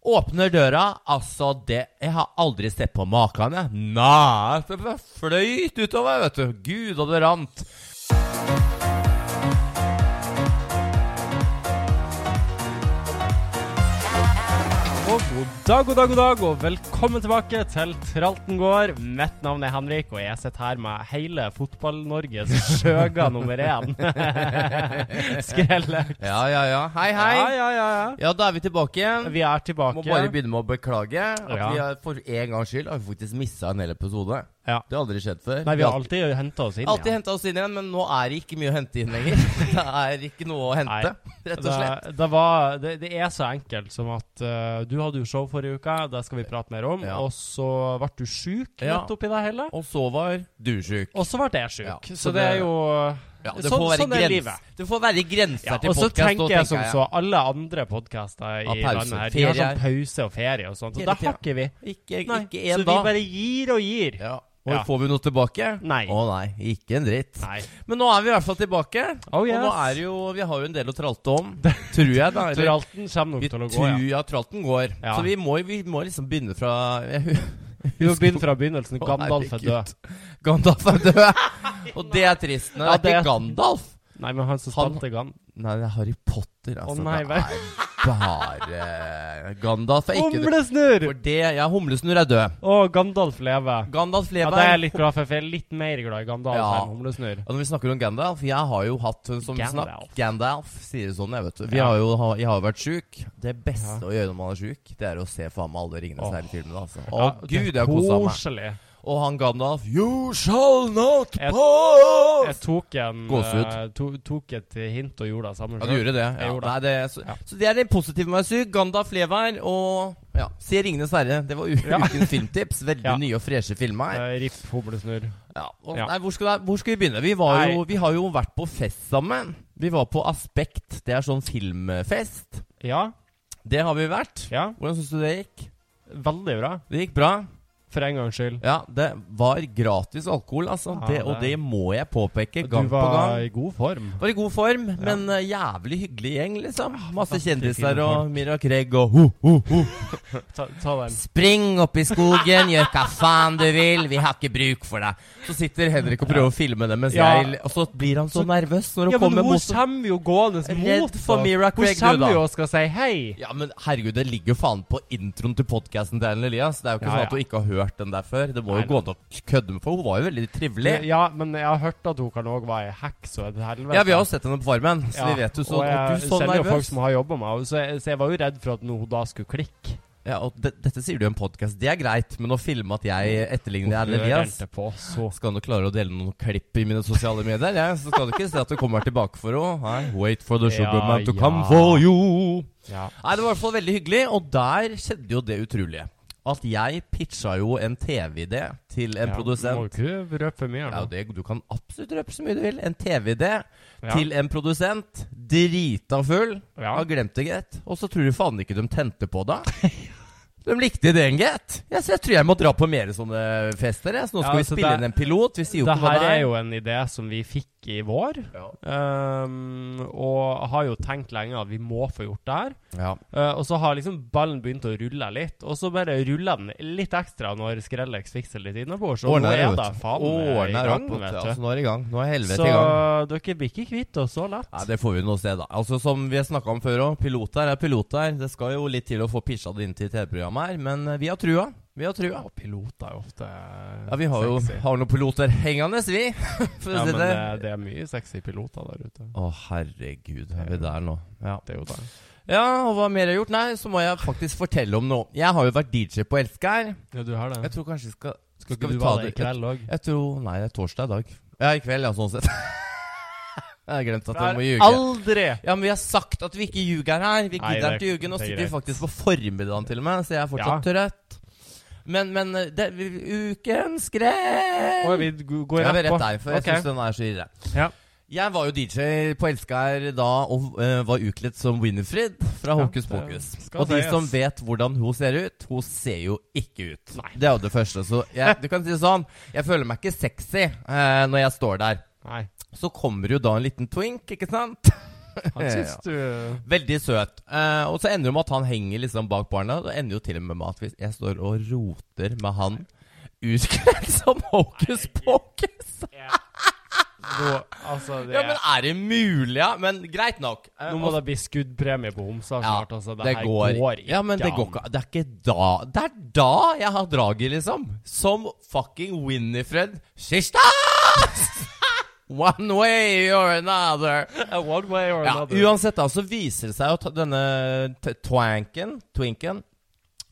Åpner døra, altså det Jeg har aldri sett på maken, jeg. Nei, det bare fløyt utover, vet du. Gud, og det rant. Og god dag, god dag, god dag, og velkommen tilbake til Tralten gård. Mitt navn er Henrik, og jeg sitter her med hele Fotball-Norges skjøga nummer én. Skrelle. Ja, ja, ja. Hei, hei. Ja, ja, ja, ja. Ja, da er vi tilbake. Vi Vi er tilbake. må bare begynne med å beklage. At Ja. vi har, For en gangs skyld har vi faktisk missa en hel episode. Ja. Det har aldri skjedd før. Nei, vi har alltid henta oss inn Alltid henta oss inn igjen, men nå er det ikke mye å hente inn lenger. Det er ikke noe å hente, rett og slett. Det, det, var, det, det er så enkelt som at eh, du hadde jo show forrige uke, det skal vi prate mer om. Ja. Og så ble du sjuk Ja. midt oppi det hele. Og så var du sjuk. Og så ble jeg sjuk. Ja, så, så det det- er jo Ja, det, sånn, får være sånn er grens- livet. det får være grenser Ja, til og så podcast, tenker jeg som tenker jeg. så alle andre Ja, podkaster i pause, landet her. De har ferier. sånn pause og ferie og sånt. Og Hele det tida. har ikke vi. Ikke, Nei, ikke så en vi dag. bare gir og gir. Ja. Og Ja. får vi noe tilbake? Nei. Å nei, ikke en dritt. Nei. Men nå er vi i hvert fall tilbake. Oh, yes. Og nå er det jo Vi har jo en del å tralte om. tror jeg, da. eller- Tralten kommer vi nok til å gå, tror ja. ja, tralten går. Ja. Så vi må, vi må liksom begynne fra jeg Vi må begynne fra begynnelsen. Å, Gandalf er død. Gandalf er død. Og det er trist. Nei, Ja, det er det- ikke Gandalf. Nei, men han som Han- spilte Gandalf Nei, det er Harry Potter. Altså, nei, det vel. er bare Gandalf er ikke død. Humlesnurr! For det, ja, Humlesnurr er død. Å, Gandalf lever. Gandalf Ja, lever. det er jeg litt glad for, for jeg er litt mer glad i Gandalf Ja. enn Humlesnurr. Og når vi snakker om Gandalf Jeg har jo hatt en sånn Gandalf. snakk Gandalf sier det sånn, jeg vet du. Vi Ja. har jo ha- jeg har jo vært sjuk. Det beste Ja. å gjøre når man er sjuk, det er å se faen meg alle Ringenes Åh. herre-filmene. Altså. Å Ja, gud, det jeg er har kosa meg. Koselig. Og han Gandalf You shall not Jeg- Jeg pass! tok en Gåsehud. eh, to, tok et hint og gjorde det samme. Ja, du gjorde det? Jeg Ja. gjorde det. Nei, det så, Ja. så det er det positive med å være syk. Gandalf lever, og ja, se Ringenes herre. Det var u Ja. ukens filmtips. Veldig Ja. nye og freshe filmer. Eh, Riff Humlesnurr. Ja, og, Ja. Nei, hvor, skal, hvor skal vi begynne? Vi, var Nei. jo, vi har jo vært på fest sammen. Vi var på Aspekt. Det er sånn filmfest. Ja, Det har vi vært. ja. Hvordan syns du det gikk? Veldig bra. Det gikk bra. For en gangs skyld. Ja, det var gratis alkohol, altså. Ja, det, og det det- må jeg påpeke gang du på gang. var i god form. Var i god form, men eh, jævlig hyggelig gjeng, liksom. Masse veldig kjendiser fine og folk. Mira Craig og ho, ho, ho. Ta, ta den. Spring opp i skogen, gjør hva faen du vil, vi har ikke bruk for deg. Så sitter Henrik og prøver å filme det, mens Ja. jeg, og så blir han så Så- nervøs når hun Ja, men kommer hun mot kommer jo gående mot Redd for oss. Mira Craig, du, Hun da. kommer jo og skal si hei. Ja, men herregud, det ligger jo faen på introen til podkasten til Ellen Elias. Det er jo ikke Ja, sånn ja. at hun ikke har hørt den der før. Det må Nei, jo gå an å kødde med, for hun var jo veldig trivelig. Ja, men jeg har hørt at hun kan òg være ei heks og et helvete. Ja, vi har jo sett henne på Farmen, så vi vet jo så og jeg Og du så kjenner jo folk nervøs. som har jobba med henne, så, jeg- så jeg var jo redd for at nå hun da skulle klikke. Ja, og de, dette sier du i en podkast. Det er greit, men å filme at jeg etterligner Hun Ellen Elias rente på så Skal du klare å dele noen klipp i mine sosiale medier, ja, så skal du ikke se at du kommer tilbake for henne. Nei, Wait for the sugar Ja, man to come ja. for you. Ja. Nei, Det var i hvert fall veldig hyggelig, og der skjedde jo det utrolige. At jeg pitcha jo en TV-idé til en ja. produsent. Må ikke røpe for mye her Ja, nå. det, du kan absolutt røpe så mye du vil. En TV-idé Ja. til en produsent. Drita full. Ja. Har glemt det, gitt. Og så tror du faen ikke de tente på det. De likte ideen, gitt. Jeg, så jeg tror jeg må dra på mer sånne fester. Jeg. Så nå Ja, skal vi altså, spille det- inn en pilot. Vi sier jo Det ikke hva her det er er. jo en idé som vi fikk i vår, Ja. ehm, og har jo tenkt lenge at vi må få gjort det her. Ja. Eh, og så har liksom ballen begynt å rulle litt, og så bare ruller den litt ekstra når Skrellex fikser litt innebord. Så nå Ordner er det, det vet du. faen meg i Ordner gang, opp. vet du. vet du. Altså, nå er det i gang. Nå er Så helvete i gang. dere blir ikke kvitt oss så lett. Nei, Det får vi nå se, da. Altså Som vi har snakka om før òg, piloter er piloter. Det skal jo litt til å få pitcha det inn til TV-programmet her, men eh, vi har trua. Vi har trua. Ja, piloter er jo ofte Ja, vi har jo sexy. har noen piloter hengende, vi. For å Ja, si men det. det, det er mye sexy piloter der ute. Å, herregud. Er vi der nå? Ja. Det er jo det. ja, og hva mer jeg har gjort? Nei, så må jeg faktisk fortelle om noe. Jeg har jo vært DJ på Elsker. Ja, du har det. Jeg tror kanskje vi skal Skal skal ikke vi ta du være det det- i kveld òg? Jeg tror Nei, det er torsdag i dag. Ja, i kveld, ja, sånn sett. jeg har glemt at jeg må ljuge. Aldri! Ja, men vi har sagt at vi ikke ljuger her. Vi Nei, gidder det- ikke ljuge. Nå det er sitter vi greit. faktisk på formiddagen til og med, så jeg er fortsatt trøtt. Men, men eh, det, Ukens grep! Oi, vi g- går Jeg rett vil på. rett deg, for jeg Ok. syns den er så irre. Ja. Jeg var jo DJ på Elsker da og eh, var utkledd som Winifred fra Ja, Hokus det Pokus. skal Og de sies. som vet hvordan hun ser ut, hun ser jo ikke ut. Nei. Det er jo det første. Så jeg, du kan si det sånn, jeg føler meg ikke sexy eh, når jeg står der. Nei. Så kommer jo da en liten twink, ikke sant? Han syns du Veldig søt. Eh, og så ender det med at han henger liksom bak barna. Og det ender jo til og med med at hvis jeg står og roter med han utkledd som hokus pokus Nå, altså, det, Ja, men er det mulig? Ja, men greit nok. Eh, nå må det bli skuddpremie på Homsa ja, snart. altså, det, det her går, går, ikke Ja, men det går ikke Det er ikke da Det er da jeg har draget, liksom. Som fucking Winifred Sisters! One way or another. an. One way or Ja, another. uansett da, så viser det seg jo at denne t- twanken, twinken,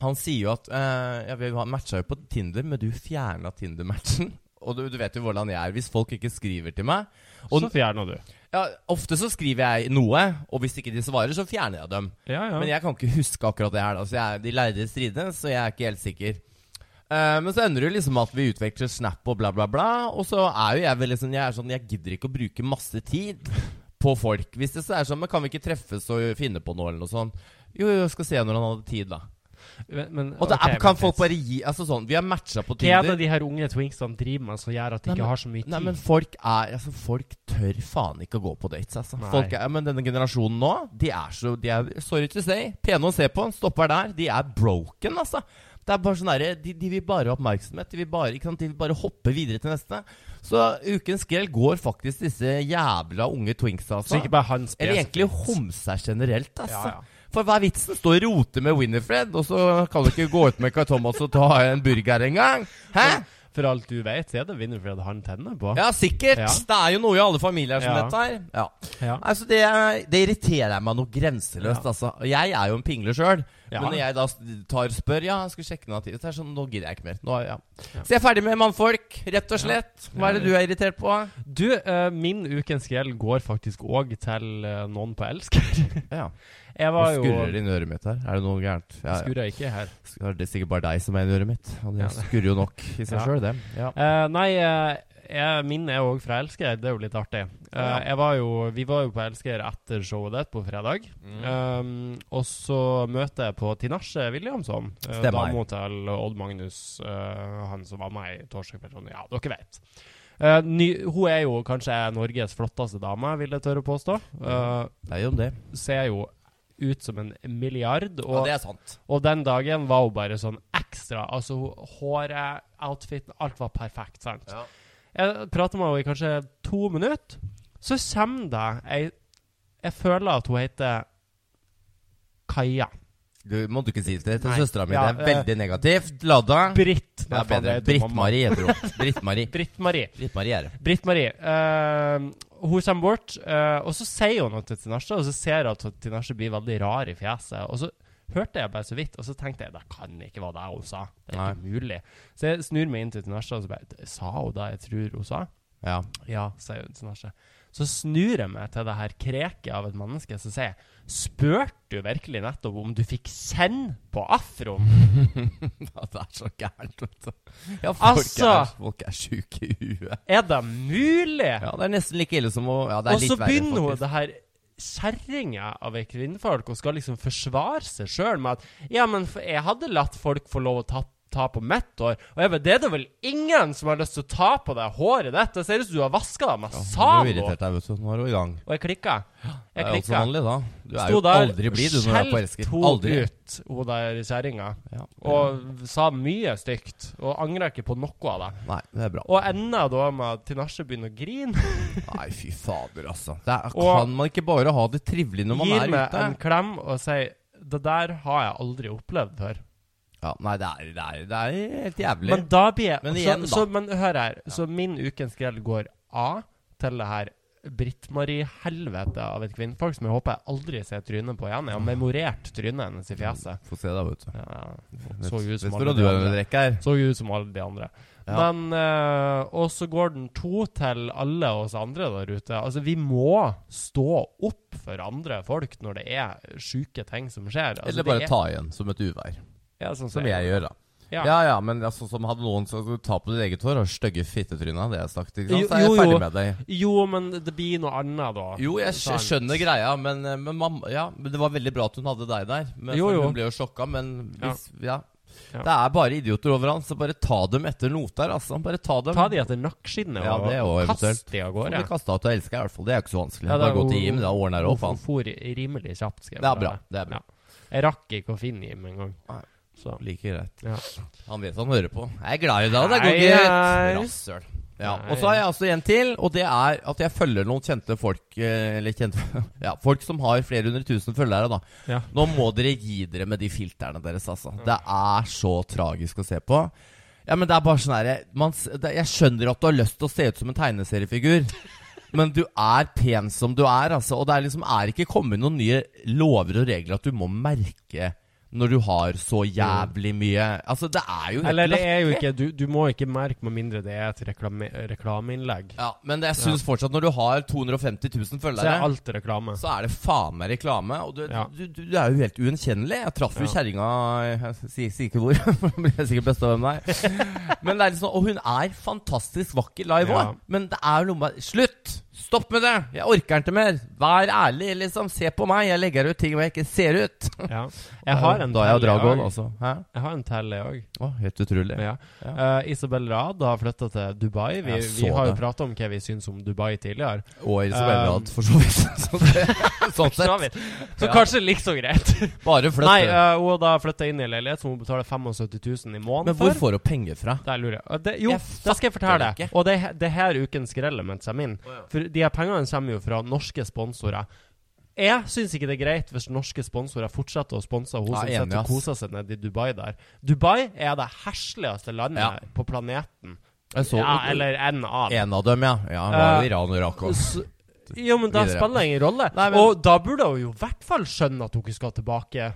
han sier jo at eh, ja, Vi matcha jo på Tinder, men du fjerna Tinder-matchen. Og du, du vet jo hvordan jeg er. Hvis folk ikke skriver til meg og, så fjerner du. ja, Ofte så skriver jeg noe, og hvis ikke de svarer, så fjerner jeg dem. Ja, ja. Men jeg kan ikke huske akkurat det her. da Så jeg, De lærde stridene, så jeg er ikke helt sikker. Eh, men så ender det jo liksom at vi utveksler snap og bla, bla, bla. Og så er jo jeg veldig sånn Jeg er sånn, jeg gidder ikke å bruke masse tid på folk. Hvis det så er sånn, men kan vi ikke treffes og finne på noe eller noe sånt? Jo, jo, jeg skal se når han hadde tid, da. Men- men- Og da ok, kan men folk fint. bare gi Altså sånn, vi har matcha på Hva er det Tinder. de her unge twingsene driver med som gjør at de Nei, ikke men- har så mye tid? Nei, men folk er Altså, folk tør faen ikke å gå på dates, altså. Nei. Folk er, men denne generasjonen nå, de er så de er, Sorry to say. Pene å se på, stopper der. De er broken, altså. Det er bare sånn derre de, de vil bare ha oppmerksomhet. De vil bare, ikke sant? de vil bare hoppe videre til neste. Så ukens grell går faktisk disse jævla unge twinksa, så altså. ikke bare han Eller egentlig spesifikt. homser generelt, altså. Ja, ja. For hva er vitsen? Stå og rote med Winifred, og så kan du ikke gå ut med Kai Thomas og ta en burger engang? Hæ? For alt du vet, så er det Winnerfred han tenner på. Ja, sikkert. Ja. Det er jo noe i alle familier som Ja. dette her. Ja. Ja. Altså, det, det irriterer meg noe grenseløst, altså. Og Jeg er jo en pingle sjøl. Ja. Men når jeg da tar og spør Ja, jeg skal sjekke noe av tiden, så er det sånn Nå gidder jeg ikke mer. Nå, ja. Så jeg er ferdig med mannfolk, rett og slett. Hva er det du er irritert på? Du, eh, min ukens gjeld går faktisk òg til eh, noen på elsker. Ja. Jeg Nå var jo skurrer det inn i øret mitt her. Er det noe gærent? Ja, ja. Skurrer ikke her. Skurrer. Det er sikkert bare deg som er i øret mitt. Og Ja. det skurrer jo nok i seg Ja. sjøl, det. Ja. Eh, nei, eh, jeg, min er òg fra Elsker. Det er jo litt artig. Eh, Ja. jeg var jo, vi var jo på Elsker etter showet ditt på fredag. Mm. Um, og så møter jeg på Tinashe Williamson, uh, Stemmer. dama til Odd Magnus, eh, han som var med i Torsdagskvelden. Ja, dere vet. Eh, ny, hun er jo kanskje Norges flotteste dame, vil jeg tørre å påstå. Eh, Det er jo det. ser jo ut som en milliard. Og, Og det er sant. og den dagen var hun bare sånn ekstra. Altså hun- håret, outfiten, alt var perfekt. sant? Ja. Jeg prater med henne i kanskje to minutter. Så kommer det ei Jeg føler at hun heter Kaja. Du må du ikke si det til Nei. søstera mi. Ja, eh. Det er veldig negativt lada. Britt. Det er bedre. Britt-Marie heter hun. Britt-Marie. Britt-Marie. Britt-Marie er det. Britt-Marie. eh, hun kommer bort, eh, og så sier hun noe til Tinashe, og så ser jeg at Tinashe blir veldig rar i fjeset. Og så hørte jeg bare så vidt, og så tenkte jeg det kan ikke være det hun sa. Det er ikke mulig. Så jeg snur meg inn til Tinashe og så bare Sa hun det jeg tror hun sa? Ja. Ja, sier hun Tinashe. Så snur jeg meg til det her kreket av et menneske, så sier jeg Spurte du virkelig nettopp om du fikk send på afroen? Det er så gærent, vet du. Ja, folk Altså! er, folk er sjuke i huet. Er det mulig? Ja, det er nesten like ille som å Ja, det er og så litt verre, begynner hun faktisk. det her kjerringa av ei kvinnfolk og skal liksom forsvare seg sjøl med at Ja, men for jeg hadde latt folk få lov å ta, ta på mitt hår. Og jeg bare Det er det vel ingen som har lyst til å ta på deg håret ditt? Det ser ut som du har vaska deg med Ja, Nå er du Zalo. irritert deg, vet du. Nå er hun i gang. Og jeg klikka. Det er Jeg jo også klikka. vanlig, da. Du er Sto jo der, aldri blid, du, når du er på elsker. skjelt Aldri. hun ut, hun der kjerringa, Ja. og sa mye stygt. Og angra ikke på noe av det. Nei, det er bra. Og enda da med at Tinashe begynner å grine. Nei, fy fader, altså. Det er, Og- kan man ikke bare ha det trivelig når man gir er meg ute? en klem og sier Det der har jeg aldri opplevd før. Ja, nei, det er, det er, det er helt jævlig. Men da blir jeg Men så, igjen, da. Så, men hør her. Så min ukens grell går A til det her Britt-Marie-helvete av et kvinnfolk som jeg håper jeg aldri ser trynet på igjen. Jeg har memorert trynet hennes i fjeset. Få se, da, vet du. Ja, så jo Vet ut som du alle hvordan de du andre. er her? Så jo ut som alle de andre. Ja. Men eh, Og så går den to til alle oss andre der ute. Altså, vi må stå opp for andre folk når det er sjuke ting som skjer. Altså, Eller det bare er, ta igjen, som et uvær. ja, sånn Som jeg gjør, da. Ja. Ja, ja, men altså, som hadde noen som skulle ta på ditt eget hår og stygge fittetryna, det har jeg sagt. Ikke Jo, sant? Så er jo, jeg jo. ferdig med deg. Jo, men det blir noe annet da. Jo, jeg skj- Sant. skjønner greia, eh, men, men, mam- ja, men det var veldig bra at hun hadde deg der. Men, Jo, for jo. Hun ble jo sjokka, men hvis, ja. Ja. Det er bare idioter overalt, så bare ta dem etter noter, altså. Bare ta dem. Ta de etter nakkskinnet Ja, og, det er jo og kast eventuelt. de av Får gårde. bli kastet ut og elska, i hvert fall. Det er jo ikke så vanskelig. Ja, bare da- gå til Jim, da ordner det opp. Hun Han. for rimelig kjapt, skal jeg Det er bare- bra. Det er bra. Ja. Jeg rakk ikke å finne Jim engang. Nei. Så Like greit. ja. Han vet han hører på. Jeg er glad i deg, og det går Nei, greit. nei. Rasshøl. Ja. Nei. Og så har jeg også en til, og det er at jeg følger noen kjente folk eh, Eller kjente Ja, folk som har flere hundre tusen følgere, da. Ja. Nå må dere gi dere med de filterne deres, altså. Det er så tragisk å se på. Ja, men det er bare sånn her jeg- man s- det- Jeg skjønner at du har lyst til å se ut som en tegneseriefigur. Men du er pen som du er, altså. Og det er liksom er ikke kommet noen nye lover og regler at du må merke når du har så jævlig mye Altså, det er jo helt Eller det er jo latterlig. ikke Du, du må ikke merke med mindre det er et reklame, reklameinnlegg. Ja, men jeg syns fortsatt når du har 250 000 Så er følgere, alt reklame. så er det faen meg reklame. Og du, Ja. du, du, du er jo helt ukjennelig. Jeg traff jo Ja. kjerringa Jeg sier sier ikke hvor, for da blir jeg sikkert bestevenn med deg. Men det er liksom, og hun er fantastisk vakker live òg. Ja. Men det er jo noe med Slutt! Stopp med det! Jeg orker ikke mer! Vær ærlig, liksom. Se på meg. Jeg legger ut ting hvor jeg ikke ser ut. Ja. Jeg har en Da er jeg til i Dragon, dag. altså. Hæ? Jeg har en til, jeg òg. Å, helt utrolig. Ja. Ja. Eh, Isabel Rad har flytta til Dubai. Vi, Jeg vi så har jo det. prata om hva vi syns om Dubai tidligere. Og Isabel Um, Rad, for så vidt. Så det- sånn Så, sett. så Ja. kanskje like så greit. Bare flytt. Nei, du. eh, hun har da flytta inn i en leilighet som hun betaler 75 000 i måneden Men hvor for. får hun penger fra? Der lurer jeg. Eh, Det, jo, Jeg da skal jeg fortelle fatter det deg. ikke. Og det, he- det er her ukens element kommer inn. For de her pengene kommer jo fra norske sponsorer. Jeg syns ikke det er greit hvis norske sponsorer fortsetter å sponse hun Ja, som enig, sitter og ass. koser seg nede i Dubai der. Dubai er det hesligste landet Ja. på planeten. Jeg så ja, eller en av. en av dem, ja. ja han var Eh, jo Iran og Irak også. Så- Jo, men da Videre. spiller det ingen rolle. Nei, men- Og da burde hun jo i hvert fall skjønne at hun ikke skal tilbake.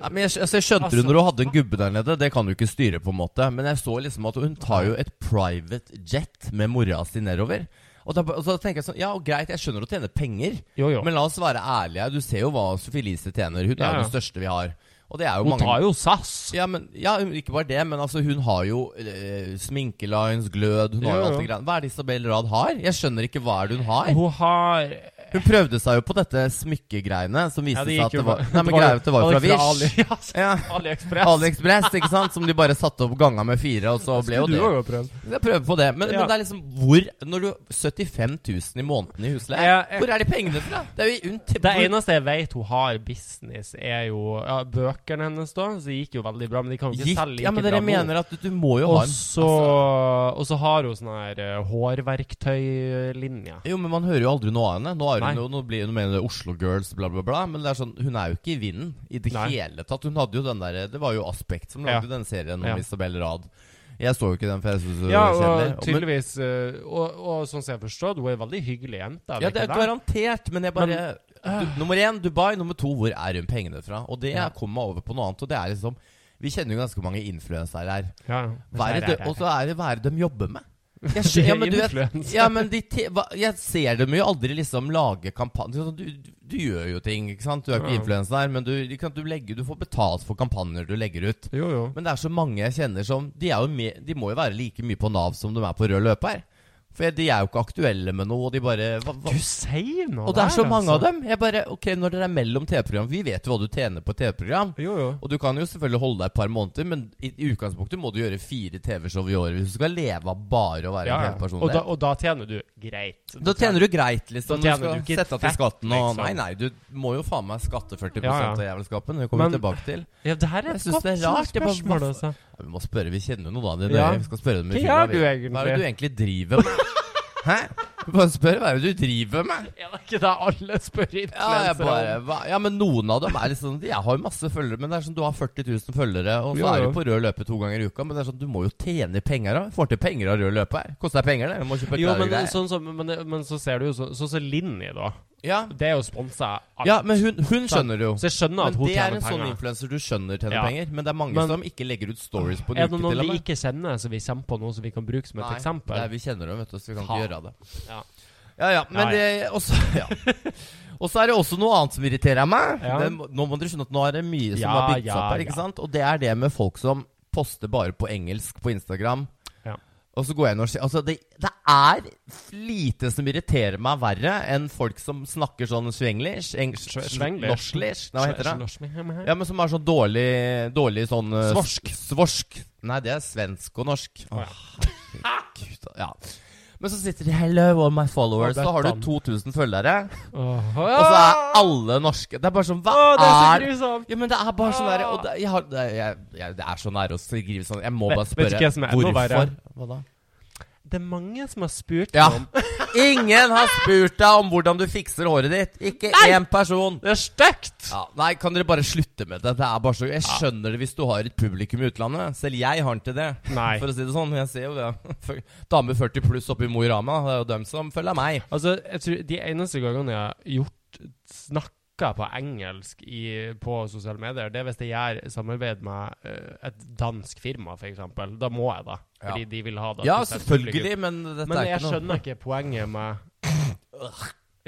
Nei, men jeg, skj- altså, jeg skjønte det altså, når hun hadde en gubbe der nede, det kan du ikke styre, på en måte. Men jeg så liksom at hun tar jo et private jet med mora si nedover. Og, da, og så tenker jeg sånn Ja, greit, jeg skjønner å tjene penger, Jo, jo. men la oss være ærlige. Du ser jo hva Sophie Elise tjener. Hun er Ja, ja. jo den største vi har. Og det er jo hun mange tar jo SAS. Ja, men, ja, hun- ikke bare det, men altså, hun har jo eh, sminkelines, glød Hun har Jo, jo jo. alt det greiene. Hva er det Isabel Rad har? Jeg skjønner ikke hva er det hun har. Hun har Hun prøvde seg jo på dette smykkegreiene, som viste seg at det var Nei, men jo- greia er at det var jo fra Ali, Wish. ja, altså, så- Ja. AliExpress. AliExpress, ikke sant? Som de bare satte opp ganga med fire, og så ble jo Du det. har jo prøvd. Jeg prøver på det. Men, Ja. men det er liksom hvor Når du 75 000 i måneden i husleie, Ja, jeg- hvor er de pengene fra? Det er jo unt... Det eneste jeg vet hun har business, er jo ja, bøkene hennes, da. Så det gikk jo veldig bra, men de kan jo ikke Gitt, selge like ja, men dere bra nå. mener at du, du må jo og ha en altså, så, og så har hun sånn her eh, hårverktøylinje. Jo, men man hører jo aldri noe av henne. Nå, er Nei. hun, jo- nå blir hun med i det Oslo Girls, bla, bla, bla. Men det er sånn, hun er jo ikke i vinden i det Nei. hele tatt. Hun hadde jo den der, Det var jo Aspekt som Ja. lagde den serien om Ja. Isabel Rad. Jeg så jo ikke den, for jeg syntes det Ja, var kjedelig. og Og- men- tydeligvis eh, og, og sånn som jeg forstår, hun er en veldig hyggelig jente. Ja, er det det er ikke det? garantert, men jeg bare du, Nummer én Dubai, nummer to hvor er hun pengene fra? Og det Ja. kommer meg over på noe annet. Og det er liksom Vi kjenner jo ganske mange influensere her. Ja, ja. Hva er det, de- og så er det hva er det de jobber med? Jeg, De skjø- er ja, men du vet- influensere. ja, men de, te- hva, jeg ser dem jo aldri liksom lage kampanjer. Sånn, Du, du, du gjør jo ting, ikke sant? Du er ikke Ja. influenser, men du, ikke sant, du, legger, du får betalt for kampanjer du legger ut. Jo, jo. Men det er så mange jeg kjenner som De, er jo med, de må jo være like mye på Nav som de er på rød løper. For de er jo ikke aktuelle med noe. Og de bare hva, hva? Du sier noe Og det er så der, mange av altså. dem. Jeg bare, ok, Når dere er mellom TV-program Vi vet jo hva du tjener på TV-program. Jo, jo. Og du kan jo selvfølgelig holde deg et par måneder, men i, i utgangspunktet må du gjøre fire TV-show i året hvis du skal leve av bare å være Ja, ja. en TV-person. Og, da, og da tjener du greit. Da tjener du greit, liksom. Da Du tjener skal du ikke sette av til fett, skatten og liksom. Nei, nei, du må jo faen meg skatte 40 Ja, ja. av jævelskapen. Det kommer vi Men- tilbake til. Ja, det her er Jeg et synes godt det er rart, jeg bare- spørsmål, altså. Ja, vi må spørre, vi kjenner jo noen av dem. Ja. Vi skal spørre dem i fylla, Hva gjør vi. du egentlig? Hva er det du egentlig driver med? Hæ? Bare spør hva er det du driver med? Er det ikke det alle spør influensere Ja, jeg bare, hva, ja, men noen av dem er liksom Jeg har jo masse følgere, men det er sånn du har 40 000 følgere, og så Ja, er ja. du på rød løper to ganger i uka, men det er sånn du må jo tjene penger av. Får til penger av rød løper. Koster deg penger, det. Du må kjøpe Jo, klær og men, greier. sånn som, men, men så ser du jo så- sånn som Linni, da. Ja. Det er jo sponsa alt. ja, men hun, hun skjønner det jo. Så jeg skjønner Men at hun det er tjener en sånn penger. influenser du skjønner tjener Ja. penger. Men det er mange Men- som ikke legger ut stories på en er uke det til noen og vi med. ikke kjenner, som vi kommer på noe som vi kan bruke som et eksempel? det er vi kjenner dem, vet du, så vi kan ikke Faen. gjøre det. Ja. ja, ja, men Ja, det også, ja. Og så er det også noe annet som irriterer meg. Ja. Det, nå må dere skjønne at nå er det mye som Ja, har bygd seg ja, opp her. ja. ikke sant? Og det er det med folk som poster bare på engelsk på Instagram. Ja. Og så går jeg inn og sier Altså, det, det er lite som irriterer meg verre enn folk som snakker sånn svenglish eng- Sve- s- svenglish. Norsklish? Nei, hva heter det? det? Ja, men som er sånn dårlig, dårlig sånn eh, Svorsk. s- Svorsk. Nei, det er svensk og norsk. Å, herregud. Ja. Men så sitter de 'Hello, all my followers', Å, det er så har bann. du 2000 følgere. Åh, Og så er alle norske. Det er bare sånn Hva Åh, det er så er grusomt! ja, men det er bare sånn der, og Ah. det, jeg har, det, jeg, jeg, det er så nære å skrive sånn Jeg må Vet- bare vet du spørre hva som er enda hvorfor. verre? Hva da? Det er mange som har spurt Ja. om Ingen har spurt deg om hvordan du fikser håret ditt. Ikke én person. Det er stygt! Ja, nei, kan dere bare slutte med det? Det er bare så Jeg skjønner det hvis du har et publikum i utlandet. Selv jeg har ikke det. Nei. For å si det sånn. Jeg ser jo det. Damer 40 pluss oppe i Mo i Rana, det er jo dem som følger meg. Altså, jeg tror de eneste gangene jeg har gjort snakka på engelsk i, på sosiale medier, det er hvis jeg gjør samarbeid med eh, et dansk firma, f.eks. Da må jeg det. Fordi de vil ha det. Ja, til sitt selvfølgelig, publikum. men dette Men er jeg ikke noe skjønner ikke poenget med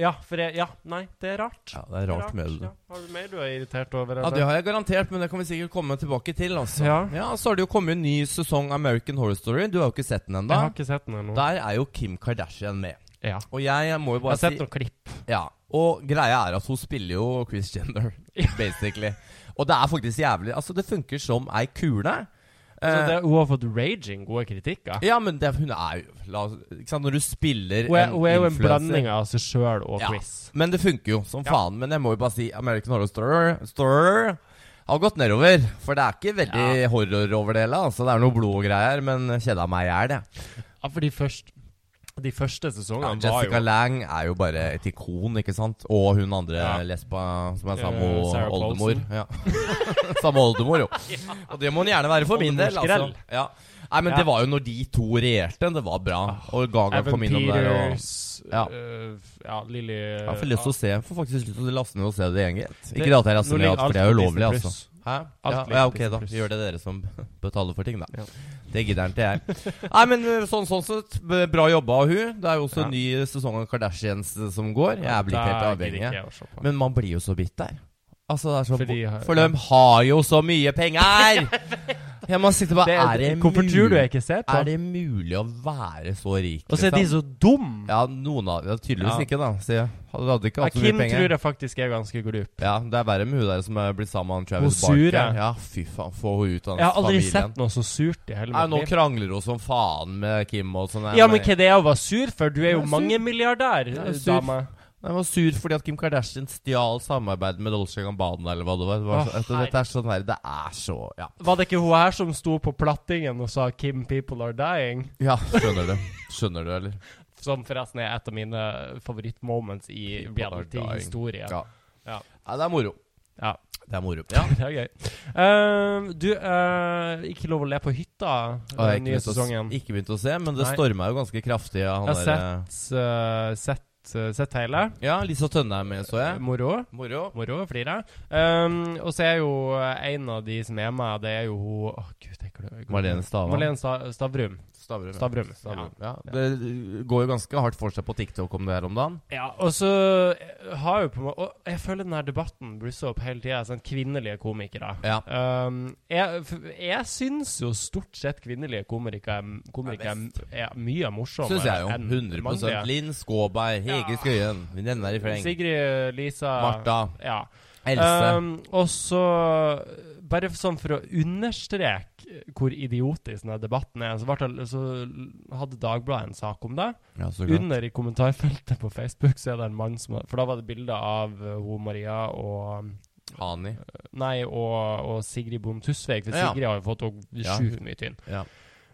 Ja, for jeg, ja, nei, det er rart. Ja, det er rart med det. Ja. Har du mer du er irritert over? Ja, det har jeg garantert, men det kan vi sikkert komme tilbake til. Altså. Ja. Så har det jo kommet en ny sesong American Horror Story. Du har jo ikke sett den jeg har ennå. ikke sett den ennå. Der er jo Kim Kardashian med. Ja. Og jeg må jo Jeg bare har sett si noen klipp. ja. Og greia er at hun spiller jo Chris Jenner, Ja. basically. Og det er faktisk jævlig Altså, det funker som ei kule. Så Eh, det, hun har fått raging gode kritikker. ja, men det, hun er jo la, oss- Ikke sant, når du spiller Hun er, hun er jo en influencer- blanding av seg sjøl og Ja. Chris. Men det funker jo som Ja. faen. Men jeg må jo bare si American Horror Story, Story har gått nedover. For det er ikke veldig horror over det hele. Altså, det er noe blod og greier, men kjeda meg i hjel, jeg. Ja, for de, først, de første Ja, sesongene var jo Jessica Lang er jo bare et ikon, ikke sant? Og hun andre Ja. lesba som er Eh, samme Sarah oldemor. Paulson. Ja. samme oldemor, jo. Og det må hun gjerne være for min del, altså. Oldemorsgrell. Ja. Nei, men Ja. Ah. det var jo når de to regjerte, det var bra. Og Gaga Evan kom innom der og Peters Ja. øh, Ja, Lilly jeg har fått lyst til å se Jeg får faktisk lyst til å laste ned og se det igjen, gitt. Det- Ikke det at jeg laster nå ned, ligger alt, for alt det er på jo Disney ulovlig, Plus. altså. Hæ? Alt Ja, ligger ja, på ok, Disney da. Plus. Gjør det dere som betaler for ting, da. Ja. Det gidder ikke jeg. Nei, men uh, sånn sånn sett, b- bra jobba av hun. Det er jo også en ny sesong av Kardashians uh, som går. Jeg blir ikke helt Da gidder ikke avhengig. jeg å se på. Men man blir jo så bitter. Altså, det er så Fordi- For de har jo så mye penger! Jeg må sitte bare er det, Hvorfor mulig- tror du jeg ikke ser på? Er det mulig å være så rik? Og så Altså, er de liksom? så dum Ja, noen av ja, Tydeligvis Ja. ikke, da. Så jeg hadde hadde ikke Ja, hatt så mye Kim penger. tror jeg faktisk er ganske glup. Ja, det er verre med hun der som er blitt sammen med Travis Hun sure. Barker. Ja, fy faen, få hun ut av Jeg har aldri familien. sett noe så surt i hele Nei, mitt nå liv. krangler hun som faen med Kim og sånn. Ja, men hva er det jeg var sur for? Du er jo Jeg er sur. mangemilliardær, Jeg er sur. dame. Jeg var sur fordi at Kim Kardashian stjal samarbeidet med Dolce Gabbana eller hva det var. Det, var Å, så, altså, dette er sånn her, det er så Ja, Var det ikke hun her som sto på plattingen og sa 'Kim, people are dying'? ja skjønner du. Skjønner du, eller? Som forresten er et av mine favorittmoments i People are reality-historie. Ja. Ja. Nei, det er moro. Ja. Det er moro. Ja. Det er gøy. Ehm, du, eh, ikke lov å le på hytta Og jeg har den nye ikke begynt å s- sesongen. ikke begynt å se, men det Nei. storma jo ganske kraftig av Jeg han har derre sett, eh, sett, eh, sett hele. Ja, Lisa Tønne er med, så jeg. Moro. Moro. Moro, flirer. Um, og så er jo eh, en av de som er med, det er jo hun Å, gud, jeg glemmer Marlene Stavang. Marlene Sta Stavrum. Stavrum. ja. Stavrum, Stavrum. Ja. Det går jo ganske hardt for seg på TikTok om det her om dagen. Ja, og så eh, har jo på en måte Og jeg føler den her debatten blusser opp hele tida. Sånn kvinnelige komikere. Ja. Um, jeg f- jeg syns jo stort sett kvinnelige komikere, komikere er mye morsommere Syns jeg jo. enn 100 mannlige. Linn Skåberg, Hege Skøyen, Venninna i Fleng, Sigrid, Lisa Martha, Ja. Else. Um, og så Bare sånn for å understreke hvor idiotisk denne debatten er, så, ble det, så hadde Dagbladet en sak om det. ja, så klart. Under i kommentarfeltet på Facebook så er det en mann som har For da var det bilder av eh, hun Maria og Hani. Nei, og, og Sigrid Bonde Tusvik. For Ja. Sigrid har jo fått og- Ja. sjukt mye tynn. Ja.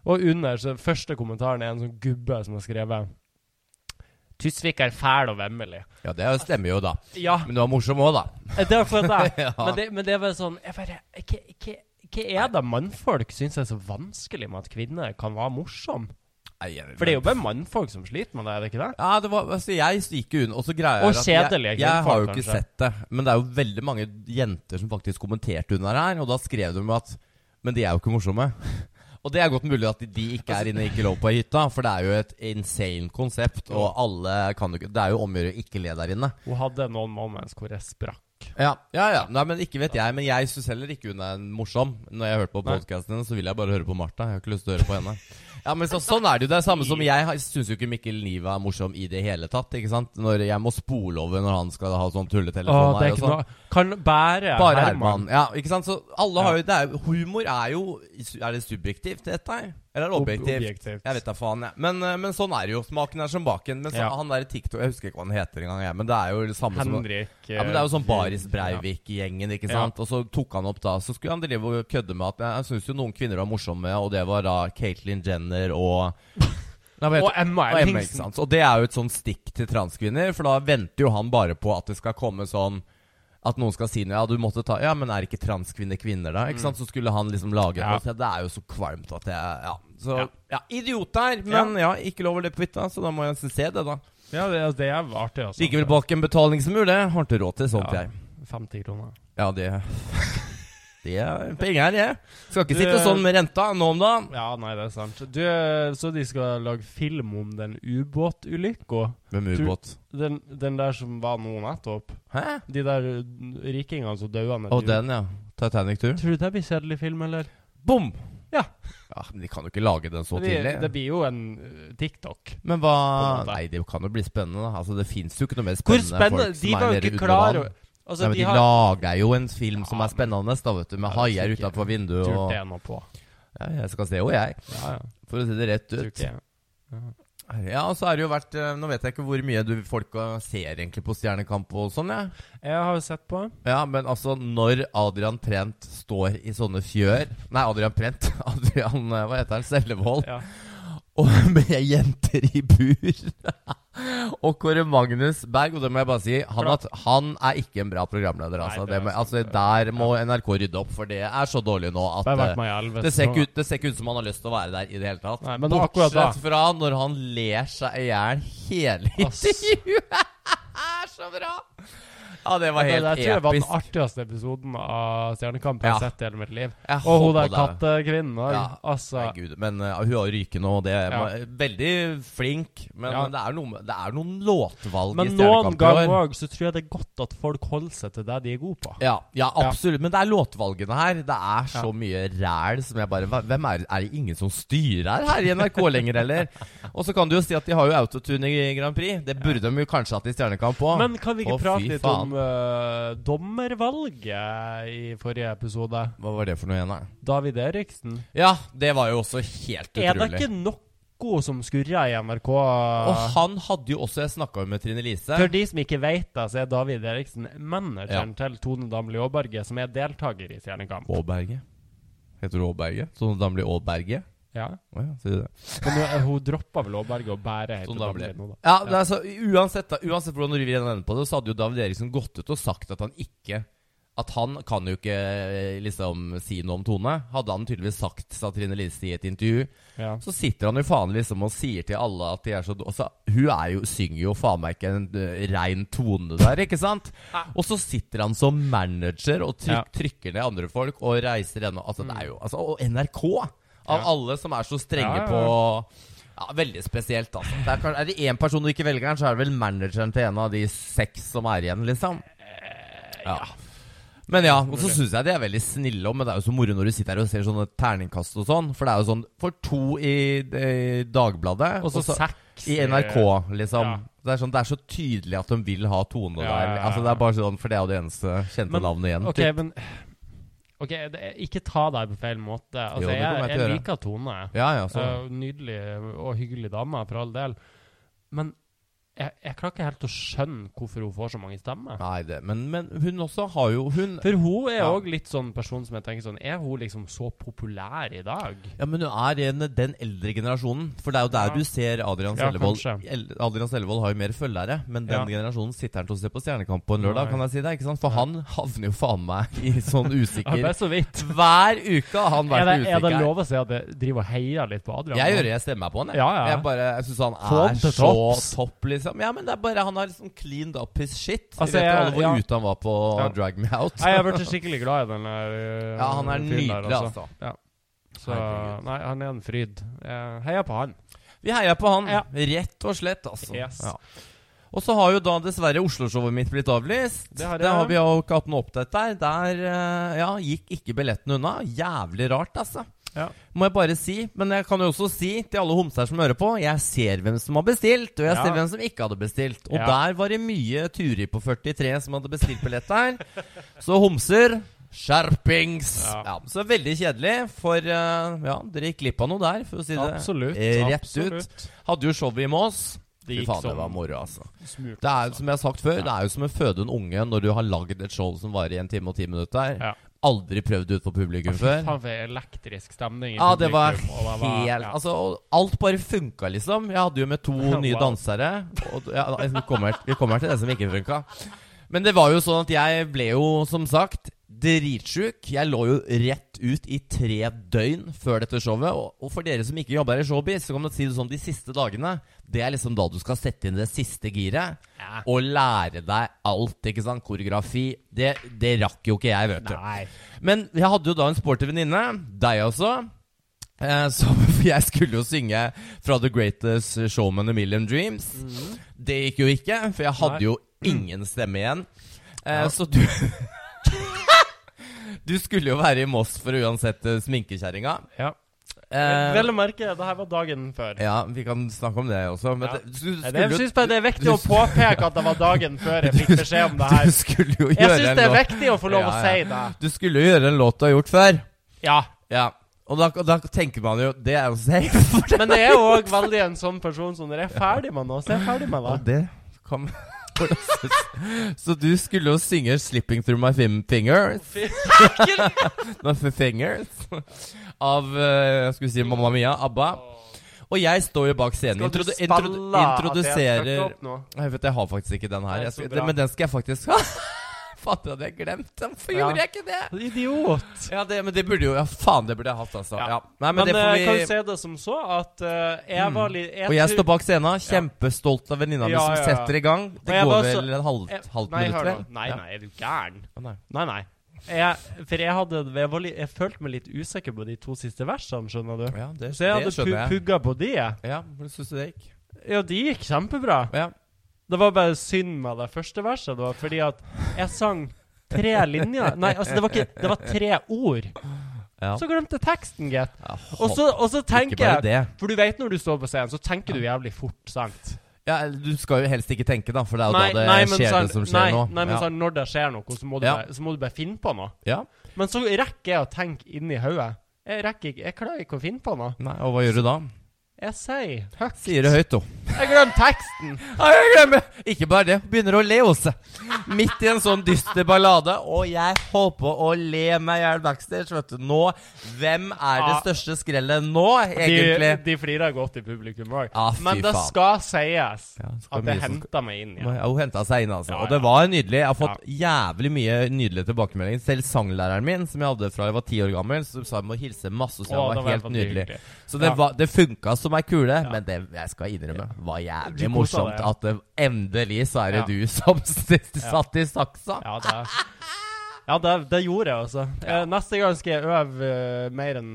Og under så første kommentaren er en sånn gubbe som har skrevet Tusvik er fæl og vemmelig. Ja, det er jo- stemmer jo, da. Ja, Men du var morsom òg, da. det er for det. Ja. Men det, men det er bare sånn jeg bare, hva, hva, hva er det mannfolk syns er så vanskelig med at kvinner kan være morsom? Nei, jeg- For det er jo bare mannfolk som sliter med det, er det ikke det? ja, det var, altså, jeg gikk jo unna, og så greier Og jeg at kjedelige jeg, jeg har jo kvinnfolk, ikke kanskje. sett det. Men det er jo veldig mange jenter som faktisk kommenterte under her, og da skrev de at Men de er jo ikke morsomme. Og det er godt mulig at de ikke er inne i Ikke lov på ei hytta, for det er jo et insane konsept, og alle kan jo ikke Det er jo om å gjøre å ikke le der inne. Hun hadde noen moments hvor jeg sprakk. Ja, ja, ja. Nei, men ikke vet jeg. Men jeg syns heller ikke hun er morsom. Når jeg hørte på podkasten hennes, så vil jeg bare høre på Martha. Jeg har ikke lyst til å høre på henne. Ja, men så, sånn er det jo. Det er samme som jeg har- syns jo ikke Mikkel Niva er morsom i det hele tatt. ikke sant? Når Jeg må spole over når han skal ha sånn tulletelefon. Å, her det er og ikke sånn. noe Kan bære Bare Herman. Ja, ikke sant? Så alle har Ja. jo det er, jo- Humor er jo Er det subjektivt, dette her? Eller er det Ob- objektivt? objektivt. Jeg vet da faen, jeg. Men, eh, men sånn er det jo. Smaken er som baken. Men så, Ja. han der TikTok Jeg husker ikke hva han heter engang, jeg. Men det er jo det samme som Henrik ja, men Det er jo sånn Baris Breivik-gjengen. ikke Eh, Ja. sant? Og så tok han opp da, så skulle han drive og kødde med at Jeg, jeg syns jo noen kvinner var morsomme, og det var da Caitlyn Jenner og Nei, hva heter- Og Emma og Emma, ikke Ellingsen. sant? Og det er jo et sånn stikk til transkvinner, for da venter jo han bare på at det skal komme sånn at noen skal si noe, ja, du måtte ta Ja, men er ikke transkvinner kvinner, da? Ikke sant? Så skulle han liksom lage Mm. Ja. noe. Så Det er jo så kvalmt at jeg Ja. Så Ja. ja. idiot der, men ja, ikke lov å løpe vidt, da, så da må jeg se det, da. Ja, det, det er artig. Altså. Likevel bak en betalingsmur, det har ikke råd til sånt, Ja. jeg. 50 kroner. Ja, det Det er penger, jeg. Skal ikke Du, sitte eh, sånn med renta nå om dagen. Ja, nei, det er sant. Du, eh, så de skal lage film om den ubåtulykka? Hvem Tror- ubåt? Den, den der som var nå nettopp? Hæ? De der uh, rikingene som daua ned Å, den, ja. Titanic-tur. Tror du det blir kjedelig film, eller? Bom! Ja. ja. Men de kan jo ikke lage den så Det blir, det tidlig. blir jo en uh, TikTok. Men hva På en måte. Nei, det kan jo bli spennende. da. Altså, Det fins jo ikke noe mer Hvor spennende, spennende? folk som De er var jo nede ikke under klar vann. over Nei, Altså, men de de har lager jo en film som Ja, er spennende, da, vet du. Med Ja, det er haier sikkert. utafor vinduet Tror og det er noe på. ja, Jeg skal se jo, jeg. Ja, ja. For å si det rett Tror ut. ikke jeg. Ja, og så er det jo vært eh, Nå vet jeg ikke hvor mye du folk eh, ser egentlig på Stjernekamp og sånn, jeg. Ja. Jeg har jo sett på. Ja, men altså, når Adrian Trent står i sånne fjør Nei, Adrian Trent. Adrian eh, Hva heter han? Sellevold. Ja. Og med jenter i bur. og Kåre Magnus Berg, og det må jeg bare si, han, Bra. at, han er ikke en bra programleder, altså. det er det må, sant, altså der må NRK rydde opp, for det er så dårlig nå at Det har eh, vært meg i elleve det ser, sesonger. ikke ut, det ser ikke ut som han har lyst til å være der i det hele tatt. Nei, men det er akkurat da. Bortsett fra når han ler seg i hjel hele Ass. intervjuet. er så bra! Ja, det var Det, helt det, tror jeg var den episk. artigste episoden av Stjernekamp jeg Ja. har sett i hele mitt liv. Jeg Og hun håper der det. kattekvinnen òg. Ja. Altså, Nei, Gud, men eh, hun har ryke nå, og det er Ja. veldig flink. Men Ja. det, er noe, med- det er noen låtvalg i men noen Stjernekamp i ganger år. òg så tror jeg det er godt at folk holder seg til det de er gode på. Ja, ja, absolutt. Men det er låtvalgene her. Det er så Ja. mye ræl som jeg bare hva- Hvem er, er det ingen som styrer her i NRK lenger, eller? Og så kan du jo si at de har jo autotune i Grand Prix. Det burde de jo kanskje hatt i Stjernekamp òg. Men kan vi Å, ikke fy prate litt faen. om eh, dommervalget i forrige episode? Hva var det for noe igjen, da? David Eriksen. Ja, det var jo også helt Er det utrolig. ikke noe som skurrer i NRK? Og han hadde jo også Jeg snakka jo med Trine Lise. For de som ikke vet det, så er David Eriksen manageren til Tone Damli Aaberge, som er deltaker i Stjernekamp. Aaberge. Heter du Aaberge? Sånn damlig Aaberge? Ja. Å ja, sier du det? Men nå, hun droppa vel Aaberge og bare heter Sånn Damli Damli. nå, da. Ja, men altså, uansett, da, uansett hvordan du vrir enden på det, så hadde jo David Eriksen gått ut og sagt at han ikke At han kan jo ikke eh, liksom si noe om Tone. Hadde han tydeligvis sagt, sa Trine Lise i et intervju. Ja. Så sitter han jo faen liksom og sier til alle at de er så d- altså, Hun er jo, synger jo faen meg ikke en eh, rein tone der, ikke sant? Og så sitter han som manager og tryk, Ja. trykker ned andre folk og reiser ennå. Altså, det er jo altså, Og NRK! Av Ja. alle som er så strenge Ja, ja, ja. på ja, Veldig spesielt, altså. Det er, kan- er det én person du ikke velger, her, så er det vel manageren til en av de seks som er igjen, liksom. Ja. Men ja, og så syns jeg de er veldig snille òg, men det er jo så moro når du sitter her og ser sånne terningkast og sånn. For det er jo sånn For to i, i Dagbladet, Og så seks i NRK, liksom. Ja. Det, er sånn, det er så tydelig at de vil ha Tone Ja, ja, der. ja. Altså Det er bare sånn, For det er jo det eneste kjente Men- navnet igjen. OK, men Ok, det er, Ikke ta deg på feil måte. Altså, Jo, det kommer jeg jeg, til å jeg gjøre. liker Tone. Ja, ja, så. Eh, nydelig og hyggelig dame, for all del. Men jeg, jeg klarer ikke helt å skjønne hvorfor hun får så mange stemmer. Nei, det, men, men hun også har jo Hun For hun er Ja. òg litt sånn person som jeg tenker sånn Er hun liksom så populær i dag? Ja, men hun er en, den eldre generasjonen. For det er jo der Ja. du ser Adrian Ja, Sellevold. kanskje. El- Adrian Sellevold har jo mer følgere, men den Ja. generasjonen sitter han til å se på Stjernekamp på en lørdag, Nei. kan jeg si det? ikke sant? For han havner jo faen meg i sånn Ja, det usikker er så vidt. Hver uke har han Er vært det, er det usikker. lov å si at jeg driver og heier litt på Adrian? jeg gjør det, jeg stemmer på han. Jeg, Ja, ja. jeg bare, jeg syns han Få han er til så topps. topp, liksom. Ja, men det er bare Han har liksom cleaned up his shit. Vi Altså, vet jo jeg- alle hvor ja. ute han var på Ja. Drag Me Out. Nei, jeg har blitt skikkelig glad i den der øh, Ja, han er fyren der, nydelig, altså. Så, Herregud. nei, han er en fryd. Jeg heier på han. Vi heier på han, Ja. rett og slett, altså. Yes. Ja. Og så har jo da dessverre Oslo-showet mitt blitt avlyst. Det har jeg. vi jo ikke hatt noe oppdate der. Der eh, ja, gikk ikke billetten unna. Jævlig rart, altså. Ja. Må jeg bare si. Men jeg kan jo også si til alle homser som hører på, jeg ser hvem som har bestilt, og jeg Ja. ser hvem som ikke hadde bestilt. Og Ja. der var det mye Turi på 43 som hadde bestilt billett der. Så homser skjerpings! Ja. Ja. så veldig kjedelig, for eh, ja, dere gikk glipp av noe der, for å si det Absolutt. eh, rett ut. absolutt. Hadde jo showet i Mås. Fy Det gikk faen, det som var moro, altså. Smurt, Det er jo altså. som jeg har sagt før, Ja. det er jo som å føde en unge når du har lagd et show som varer i en time og ti minutter. Ja. Aldri prøvd ut for publikum Fy før. faen, for elektrisk stemning. i Ja, det var publikum, og det var- helt ja. Altså, og alt bare funka, liksom. Jeg hadde jo med to nye Wow. dansere. Og, ja, vi, kommer, vi kommer til det som ikke funka. Men det var jo sånn at jeg ble jo, som sagt, dritsjuk. Jeg lå jo rett ut i tre døgn før dette showet. Og, og for dere som ikke jobber i showbiz, så kan man si det sånn de siste dagene. Det er liksom da du skal sette inn det siste giret. Ja. Og lære deg alt, ikke sant? Koreografi. Det, det rakk jo ikke jeg, vet du. Nei. Men jeg hadde jo da en sporty venninne, deg også. Eh, som, for jeg skulle jo synge fra The Greatest Showman A Million Dreams. Det gikk jo ikke, for jeg hadde Mhm. Nei. jo ingen stemme igjen. Eh, Ja. Så du Du skulle jo være i Moss for å uansett eh, sminkekjerringa. Ja. Eh, Vel å merke, det her var dagen før. ja, vi kan snakke om det også. Men Ja. det, du, Nei, skulle, Det, jeg jo- synes bare det er viktig å påpeke at det var dagen før jeg fikk beskjed om det du her. skulle jo Jeg gjøre syns en det er låt viktig å få lov å Ja, si ja. det. Du skulle jo gjøre en låt du har gjort før. Ja. Ja. Og da, da tenker man jo Det er jo safe. For det, Men jeg er jo òg veldig en sånn person som når jeg er ferdig med noe, så er jeg ferdig med det. og det kan hvordan synes- Så du skulle jo synge 'Slipping Through My Fim Fingers' My f- Fingers Av eh, Jeg skulle si Mamma Mia, ABBA. Og jeg står jo bak scenen. Skal du Introdu spille introdu at jeg fucker introduserer opp nå? Jeg vet, jeg har faktisk ikke den her. Nei, Jeg så skal, bra. men den skal jeg faktisk ha. Fatter at jeg glemte den. Hvorfor Ja. gjorde jeg ikke det? Idiot. Ja, det, men det burde jo Ja, faen, det burde jeg hatt, altså. Ja. Ja. Nei, men, Men, det får eh, vi kan du se det som så at eh, jeg var litt Og jeg står bak scenen, kjempestolt av venninna mi Ja, som ja, ja. setter i gang. Og Det jeg går var så- vel en halv, halvt Eh, Nei, minutt, hør vel? nå. Nei, nei, er du gæren? Ja. Å, nei. Nei, nei. Jeg, for jeg, hadde, jeg, var, litt- jeg følte meg litt usikker på de to siste versene, skjønner du. Ja, det, Så det jeg hadde pu skjønner jeg. pugga på de. jeg. Ja, hvordan syns du det gikk? Ja, de gikk kjempebra. Ja. Det var bare synd med det første verset, da, fordi at jeg sang tre linjer Nei, altså, det var ikke Det var tre ord. ja. Så glemte jeg teksten, gitt. ja Og så og så Ikke tenker bare jeg det. For du vet når du står på scenen, så tenker du jævlig fort, sant? Ja, du skal jo helst ikke tenke, da, for det er jo Nei, da det nei, men skjer, sant- det som skjer nei, nå. Nei, men ja. sant, når det skjer noe, så må, du Ja. bare, så må du bare finne på noe. ja. Men så rekker jeg å tenke inni hodet. Jeg rekker ikke, jeg klarer ikke å finne på noe. Nei, og hva gjør du da? Jeg sier høyt. Sier det høyt, jo. Jeg glemte teksten. Ja, jeg glemmer Ikke bare det, begynner å le også. Midt i en sånn dyster ballade. Og jeg holdt på å le meg i hjel backstage. Vet du. Nå, hvem er det Ja. største skrellet nå, De, egentlig? de flirer godt i publikum òg. Ja, fy Men det faen. skal sies Ja, det skal at mye jeg som henta meg inn Ja, igjen. Hun henta seg inn, altså. Ja, Og det ja. var nydelig. Jeg har fått jævlig mye nydelige tilbakemeldinger. Selv sanglæreren min, som jeg hadde fra jeg var ti år gammel, så sa jeg må hilse masse, så jeg Å, var, det var helt veldig nydelig. hyggelig. Så det, Ja. var, det funka som ei kule, men det jeg skal innrømme var Du jævlig kosa morsomt deg. at det, endelig så er det Ja. du som satt i saksa. Ja, det, ja, det, det gjorde jeg, altså. Eh, Neste gang skal jeg øve eh, mer enn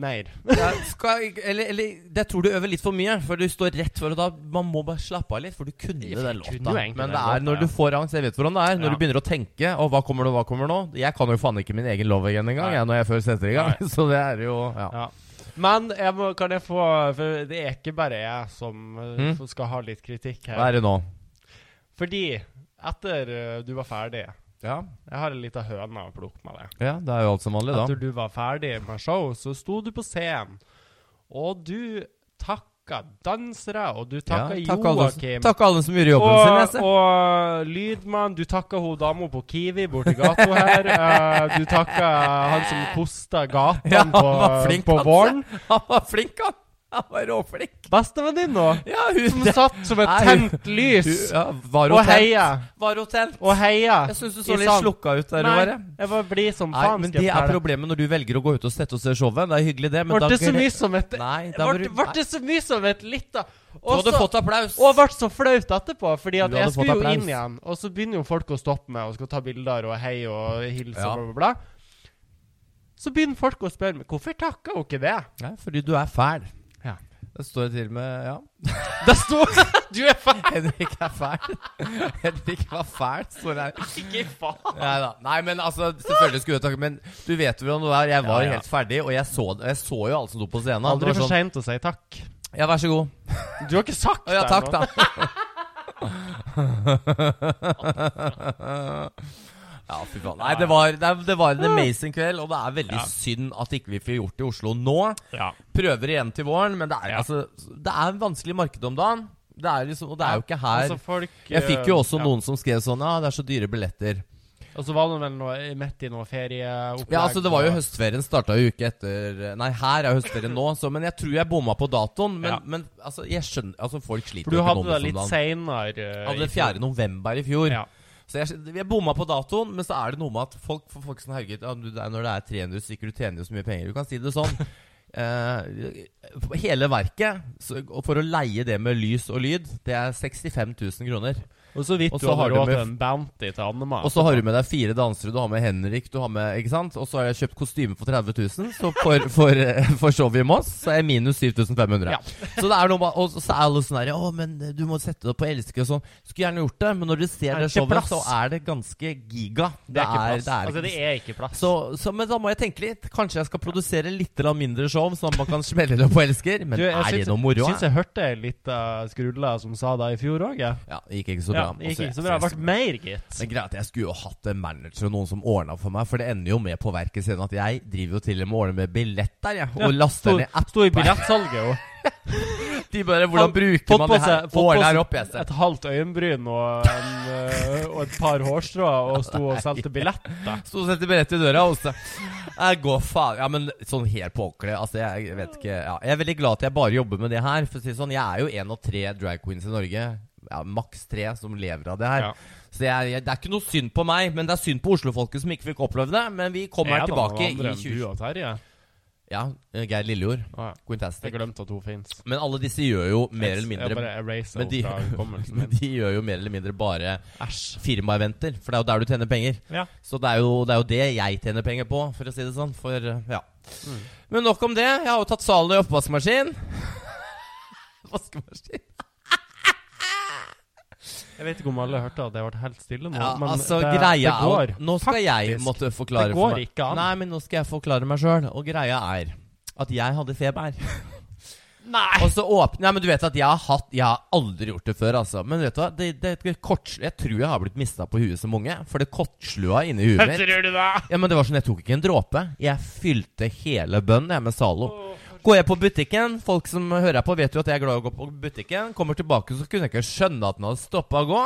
mer. Ja, skal, ikke- eller, eller jeg tror du øver litt for mye, for du står rett for og da Man må bare slappe av litt, for du kunne Jeg den kunne låta. jo egentlig Men den det er låta, når ja. du får angst Jeg vet hvordan det er. Når Ja. du begynner å tenke Og hva kommer nå, hva kommer nå? Jeg kan jo faen ikke min egen love again engang, Nei. jeg, når jeg før setter i gang. Nei. Så det er jo ja. Ja. Men jeg må, kan jeg få For det er ikke bare jeg som eh, Mm. som skal ha litt kritikk Hva her. er det nå? Fordi etter eh, du var ferdig Ja. Jeg har en liten høne å plukke med deg. ja, det er jo alt som vanlig, da. Etter du var ferdig med show, så sto du på scenen, og du takka dansere, og du takka ja, takk, alle, Joakim. takk alle som gjorde jobben sin, Og, Esse. og lydmann, du takka hun dama på Kiwi borti gata her. eh, du takka han som kosta gatene Ja, han på, var flink, på han, våren. Han var flink, han. Han var råflink. Bestevenninna, Ja, hun som sånn- satt som et Nei, tent lys ja, Var og hun tent? heia. Var hun tent? Og heia. Jeg syns du i så litt sang. slukka ut der, Nei, Håvard. jeg var blid som Nei, faen. men skal det jeg er fortelle. problemet når du velger å gå ut og sette og se showet. Det er hyggelig, det, men Ble da det så mye som et Nei, da Ble burde- ble det så mye som et lite Du hadde Også- fått applaus. Og ble så flaut etterpå, fordi at Du hadde jeg skulle fått jo applaus. inn igjen. Og så begynner jo folk å stoppe meg og skal ta bilder og hei og hilse Ja. og bla, bla, bla. Så begynner folk å spørre meg hvorfor takka hun ikke det? Nei, fordi du er fæl. Ja. Det står til og med Ja. Det står Du er faen Henrik er fæl. Henrik var fæl, står det her. ikke faen! Nei da. Nei, men altså, selvfølgelig skulle jeg takke Men du vet hvordan det var. Jeg var Ja, ja. helt ferdig, og jeg så, jeg så jo alle som sto på scenen. Aldri Det var for sånn, seint å si takk. ja, vær så god. Du har ikke sagt Å ja, det takk, ennå. da. ja, fy faen. Nei, det var, det, det var en amazing kveld, og det er veldig Ja. synd at ikke vi får gjort det i Oslo nå. Ja. Prøver igjen til våren, men det er, Ja. altså, det er en vanskelig marked om dagen. Det er liksom, og det er jo ikke her Altså, folk, eh, Jeg fikk jo også ja. noen som skrev sånn Ja, det er så dyre billetter. Og så var det vel noe, midt i noe ferieopplegg. Ja, altså det var jo og- Høstferien starta jo uke etter Nei, her er høstferien nå, så, men jeg tror jeg bomma på datoen. Men, Ja. men altså, jeg skjønner Altså, folk For sliter du jo hadde det økonomisk om litt eh, dagen. seinere. Jeg sånn. hadde det 4. november i fjor. Ja. Så jeg, jeg bomma på datoen, men så er det noe med at folk, for folk sånn, herregud, ja, du, det er når det er 300 stykker, du tjener jo så mye penger. Du kan si det sånn. Eh, hele verket, så, og for å leie det med lys og lyd, det er 65 000 kroner. Og så vidt Og du så har har du råd med- til en Bounty til Annema. Og så har du med deg fire dansere, du har med Henrik, du har med Ikke sant? Og så har jeg kjøpt kostyme for 30 000, så for, for, eh, for showet i Moss så er jeg minus 7500. Ja. Så det er noe med Og så er alle sånn her Å, men du må sette det på elske og sånn. Skulle gjerne gjort det, men når du Er ser det det ikke showet, plass? så er det ganske giga. Det er ikke plass. det er altså, ikke- det er ikke plass. så, så, men da må jeg tenke litt. Kanskje jeg skal produsere litt eller mindre show, sånn at man kan smelle det på elsker. Men Du, jeg er syns- det noe moro? eh? Syns jeg hørte ei lita skrulle som sa det i fjor òg, jeg. Ja, det gikk ikke så bra. Ja, det Også gikk ikke jeg- så bra. så Det ble mer, gitt. Men greia er at jeg skulle jo hatt en manager og noen som ordna for meg, for det ender jo med på verket siden at jeg driver jo til og med og ordner med billetter, jeg, og Ja, laster ned app. Sto i billettsalget og De bare Hvordan Fått- bruker fått man på det her? seg- fått på Ordner seg opp, jeg ser. et halvt øyenbryn og, en, eh, og et par hårstrå og sto og solgte billetter. Sto og sendte billett i døra hos deg. Jeg går faen Ja, men sånn helt på ordentlig, altså, jeg, jeg vet ikke ja, Jeg er veldig glad at jeg bare jobber med det her, for å si det sånn. Jeg er jo en av tre drag queens i Norge. Ja, Maks tre som lever av det her. Ja. Så jeg, jeg, det er ikke noe synd på meg, men det er synd på oslofolket som ikke fikk oppleve det. Men vi kommer Er det noen tilbake andre i enn 20... Du og Terje? Ja, Geir Lillejord. Å, ja. Jeg Quintastic. glemte at hun fins. Men alle disse gjør jo mer eller Jeg mindre bare eraser Men de- henne fra hukommelsen Men min. de gjør jo mer eller mindre bare Æsj. firmaeventer, for det er jo der du tjener penger. Ja. Så det er, jo, det er jo det jeg tjener penger på, for å si det sånn. For, uh, ja. Mm. Men nok om det. Jeg har jo tatt salen i oppvaskmaskin. Vaskemaskin? Jeg vet ikke om alle hørte at det ble helt stille nå, Ja, men altså, det, greia det går. er jo- Nå skal jeg Faktisk. måtte forklare Det for går meg. ikke an. Nei, men nå skal jeg forklare meg sjøl. Og greia er at jeg hadde feber. Nei! Og så åpner Nei, men du vet at jeg har hatt Jeg har aldri gjort det før, altså. Men vet du hva? Det, det, det kort, jeg tror jeg har blitt mista på huet som unge, for det kortslua inni huet mitt. Tror du det? Ja, men det var sånn, Jeg tok ikke en dråpe. Jeg fylte hele bønnen jeg med Zalo. Går jeg på butikken Folk som hører på, vet jo at jeg er glad i å gå på butikken. Kommer tilbake, så kunne jeg ikke skjønne at den hadde stoppa å gå.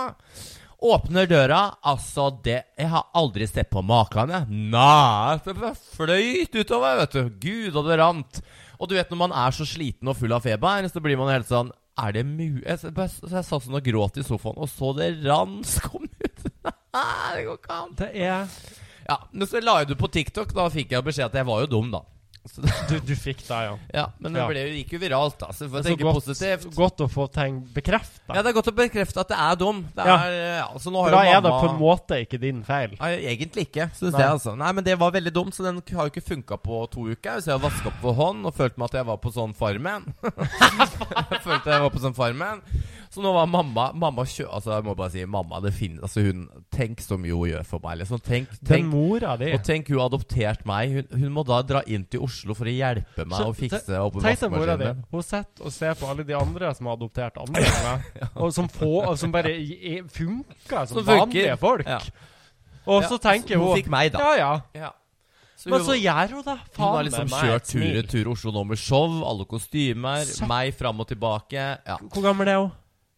Åpner døra Altså, det Jeg har aldri sett på maken, jeg. Nei! Det bare fløyt utover, vet du. Gud, og det rant. Og du vet når man er så sliten og full av feber, så blir man helt sånn Er det mu... Jeg, s- bare s- så jeg satt sånn og gråt i sofaen, og så det rans kom ut. Nei, det går ikke an. Det er Ja, men så la jeg det på TikTok. Da fikk jeg beskjed at jeg var jo dum, da. Så, Du, du fikk det, ja. ja, men det Ja. ble, jo- gikk jo viralt, da. Så vi får Det er så tenke positivt. Godt å få ting bekrefta. Ja, det er godt å bekrefte at det er dum. Det er, Ja. ja. altså, nå har For da jo er det mamma på en måte ikke din feil. Nei, egentlig ikke, syns Nei. jeg. altså Nei, Men det var veldig dumt, så den har jo ikke funka på to uker. Så jeg har vaska opp for hånd og følte meg at jeg var på sånn Farmen. Jeg følte jeg var på sånn Farmen Så nå var mamma Mamma kjø... Altså, jeg må bare si mamma. Det finnes Altså, hun Tenk så mye hun gjør for meg. Liksom. Tenk, Den tenk mora di. Og tenk, hun har adoptert meg. Hun, hun må da dra inn til Oslo for å hjelpe meg Så, å fikse opp Tenk deg mora di. vaskemaskinen. Hun sitter og ser på alle de andre som har adoptert andre enn meg, og som, få, og som bare i- i- funker som, Som funker. vanlige folk. Ja. Og Ja, så tenker hun hun fikk meg, da. Ja, ja. Ja. Så hun, Men så gjør hun det. hun har Faen liksom meg, kjørt snill. tur-retur Oslo nå med show, alle kostymer, Så- meg fram og tilbake. Ja. Hvor gammel er hun?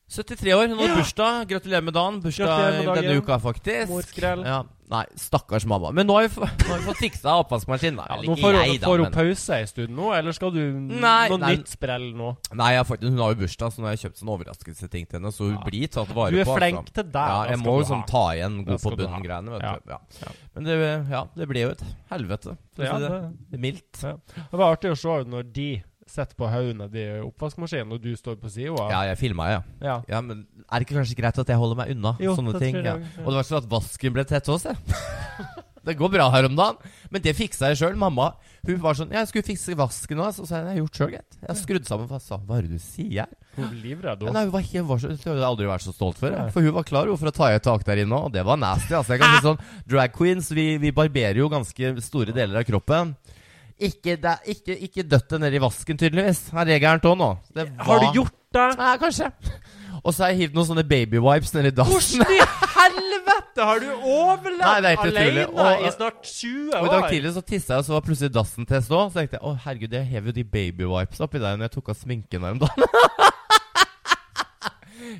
73 år. Hun har Ja. bursdag. Gratulerer med dagen. Bursdag Gratulerer med denne dagen. uka, faktisk. Morskrell. Ja. Nei, stakkars mamma. Men nå har vi, f- nå har vi fått fiksa oppvaskmaskinen. da. Ja, Eller nå ikke får hun, jeg, da, får hun men- pause en stund nå, eller skal du Nei, noe nei. nytt sprell nå? Nei, jeg har faktisk, hun har jo bursdag, så nå har jeg kjøpt sånne overraskelseting til henne. Så hun Ja. blir tatt vare på. Du er altså. flink til Ja, det. da jeg skal må jo du sånn ha. ta igjen Da god på skal du ha. bunnen-greiene, vet Ja. du. Ja. Ja. Men det, ja, det ble jo et helvete. for å Ja, si det, det- det er mildt. Det var artig å se når de sitter på haugen nedi oppvaskmaskinen, og du står på sida. Ja, jeg filma, ja. Ja. ja. Men er det ikke kanskje greit at jeg holder meg unna Jo, sånne det ting? tror jeg Ja. også, ja. Og det var sånn at vasken ble tett også, jeg. Det går bra her om dagen. Men det fiksa jeg sjøl. Mamma hun var sånn 'Jeg skulle fikse vasken nå', så sa jeg 'Det har jeg gjort sjøl, gitt'. Jeg har skrudd sammen fast. Sa, Hva er det du sier? Hun blir livredd Ja, òg. Nei, hun var helt var så, Jeg hadde aldri vært så stolt før. jeg. For hun var klar jo, for å ta i et tak der inne, og det var nasty. Altså. Jeg kan si sånn, Drag queens vi, vi barberer jo ganske store deler av kroppen. Ikke, det, er- ikke, ikke døtt det nedi vasken, tydeligvis. Er regelen tå nå. Det Har var- du gjort det? Ja, kanskje. Og så har jeg hivd noen sånne babywipes nedi dassen. Hvordan i helvete har du Nei, det er overlevd helt utrolig. alene Og- i snart 20 Og I dag år? tidlig så tissa jeg, og så var plutselig dassen til stå. Så tenkte jeg å herregud, jeg hev jo de babywipes oppi der når jeg tok av sminken her om dagen.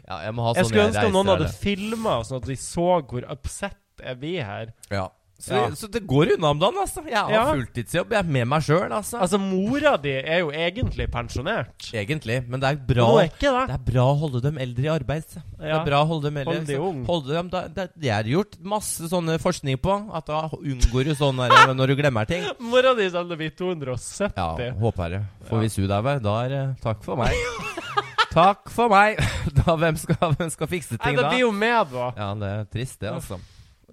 ja, jeg må ha sånn Jeg skulle når ønske reiser, om noen hadde eller- filma, sånn at de så hvor upset er vi her. ja. Så, Ja. så det går unna om dagen, altså. Jeg har Ja. fulltidsjobb. Jeg er med meg sjøl, altså. Altså, mora di er jo egentlig pensjonert. Egentlig. Men det er Bra. bra Hun er ikke Det det. er bra å holde dem eldre i arbeid. så. Det Ja. er bra å holde dem eldre Hold de så. ung. Holde dem, da, det, det er gjort masse sånne forskning på. At da unngår du sånn der når du glemmer ting. Mora di selger vi 270. Ja, håper jeg. For hvis hun dauer, da er det takk for meg. takk for meg! Da, hvem, skal, hvem skal fikse Nei, ting det da? blir jo med, da. Ja, det er trist, det, altså.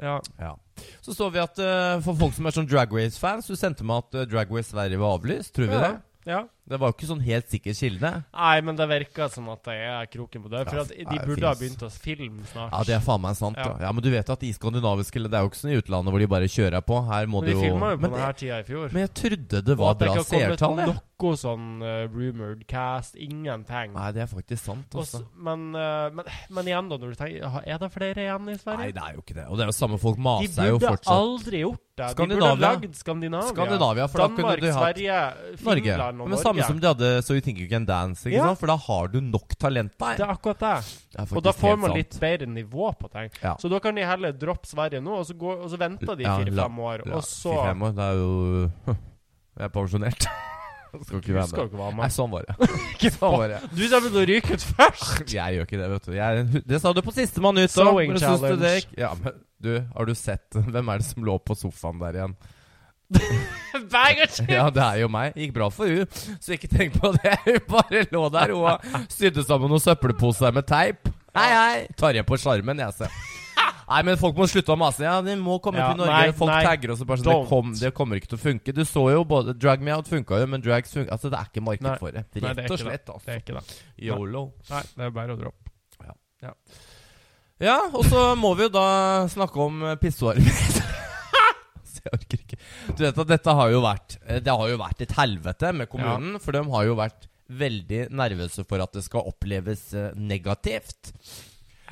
Ja. Ja. Så så vi at eh, for folk som er sånn Drag Race-fans, du sendte meg at eh, Drag Race Sverige var avlyst. Tror vi Ja. det? ja. Det var jo ikke sånn helt sikker kilde. Nei, men det virker som at det er kroken på døra. For Ja, at de nei, det burde ha finnes. begynt å filme snart. Ja, det er faen meg sant. Ja. Ja. ja, Men du vet at i skandinaviske Det er jo ikke sånn i utlandet hvor de bare kjører på. Her må men de du filma jo på men, denne tida i fjor. men jeg trodde det Og var at bra Det ikke har seertall. kommet jeg. noe sånn eh, rumored cast. Ingenting. Nei, det er faktisk sant. altså. Og Også. s- men, eh, men, men igjen, da, når du tenker ha- Er det flere igjen Nei, i Sverige? det er jo ikke det. Og det er jo samme folk de maser jo burde fortsatt. aldri gjort det. De burde ha Skandinavia. lagd Skandinavia. Skandinavia, for da kunne Danmark, du hatt- Sverige, Finland Norge. og Men Norge. samme som de hadde So You Think You Can Dance, ikke Ja. sant? For da har du nok talent der. Det er akkurat det. Det er Og da faktisk får helt man sant. litt bedre nivå på ting. Ja. Så da kan de heller droppe Sverige nå, og så, går, og så venter de Ja, la- fire-fem år, Ja, og så fire-fem år, det er jo Jeg er pensjonert. Skal ikke være skal med. ikke være Nei, med. sånn var det. Sånn var det. Du kommer til å ryke ut først! Jeg gjør ikke det, vet du. Jeg, er en hu- det sa du på sistemann ut. da. Sewing Men syns du challenge. det gikk- Ja, men du, har du sett Hvem er det som lå på sofaen der igjen? Baggers! Ja, det er jo meg. Gikk bra for hun, så ikke tenk på det. Hun bare lå der og sydde sammen noen søppelposer med teip. Hei, hei. Tar jeg på sjarmen, jeg, se. Nei, men folk må slutte å mase. Ja, de må komme Ja, til Norge. nei, folk nei. tagger oss og bare sånn det, Don't. kom, det kommer ikke til å funke. Du så jo både Drag Me Out funka jo, men drags funka Altså, det er ikke marked Nei. for det. Nei, Rett det og er ikke slett, Det altså. er ikke det. Yolo. Nei, det er bare å droppe. Ja, og så må vi jo da snakke om eh, pissoaret mitt. Så jeg orker ikke. Du vet at dette har jo vært eh, Det har jo vært et helvete med kommunen, for de har jo vært veldig nervøse for at det skal oppleves eh, negativt.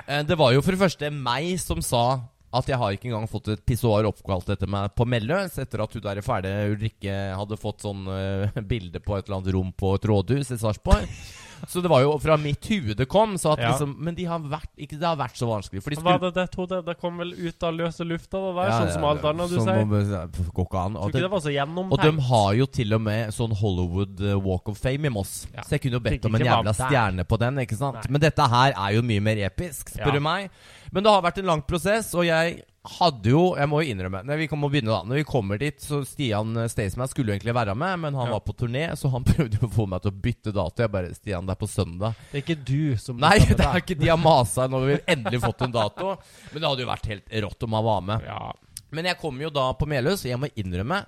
Eh, Det var jo for det første meg som sa at jeg har ikke engang fått et pissoar oppkalt etter meg på Melløs, etter at hun der fæle Ulrikke hadde fått sånn eh, bilde på et eller annet rom på et rådhus i Sarpsborg. Så det var jo fra mitt hue det kom. Så at Ja. liksom, men de har vært, ikke, det har vært så vanskelig. For de skulle Hva er det det, Tode? Det kom vel ut av løse lufta, det der? Ja, sånn ja, som alt ja, annet du sånn sier? må vi- ja, pff, Går ikke an. Tror Og, ikke det det, var så og de gjennomtenkt. har jo til og med sånn Hollywood eh, Walk of Fame i Moss. Ja. Så jeg kunne jo bedt Fikk om en ikke jævla valgt der. stjerne på den. ikke sant? Nei. Men dette her er jo mye mer episk, spør Ja. du meg. Men det har vært en lang prosess, og jeg hadde jo Jeg må jo innrømme Når vi, kan- må begynne da Når vi kommer dit, så Stian eh, Staysman skulle jo egentlig være med, men han Ja. var på turné, så han prøvde jo å få meg til å bytte dato. Jeg bare Stian, det er på søndag. Det er ikke du som Nei, bestemmer det er ikke de har masa når vi endelig fått en dato. Men det hadde jo vært helt rått om han var med. Ja. Men jeg kom jo da på Meløs, og jeg må innrømme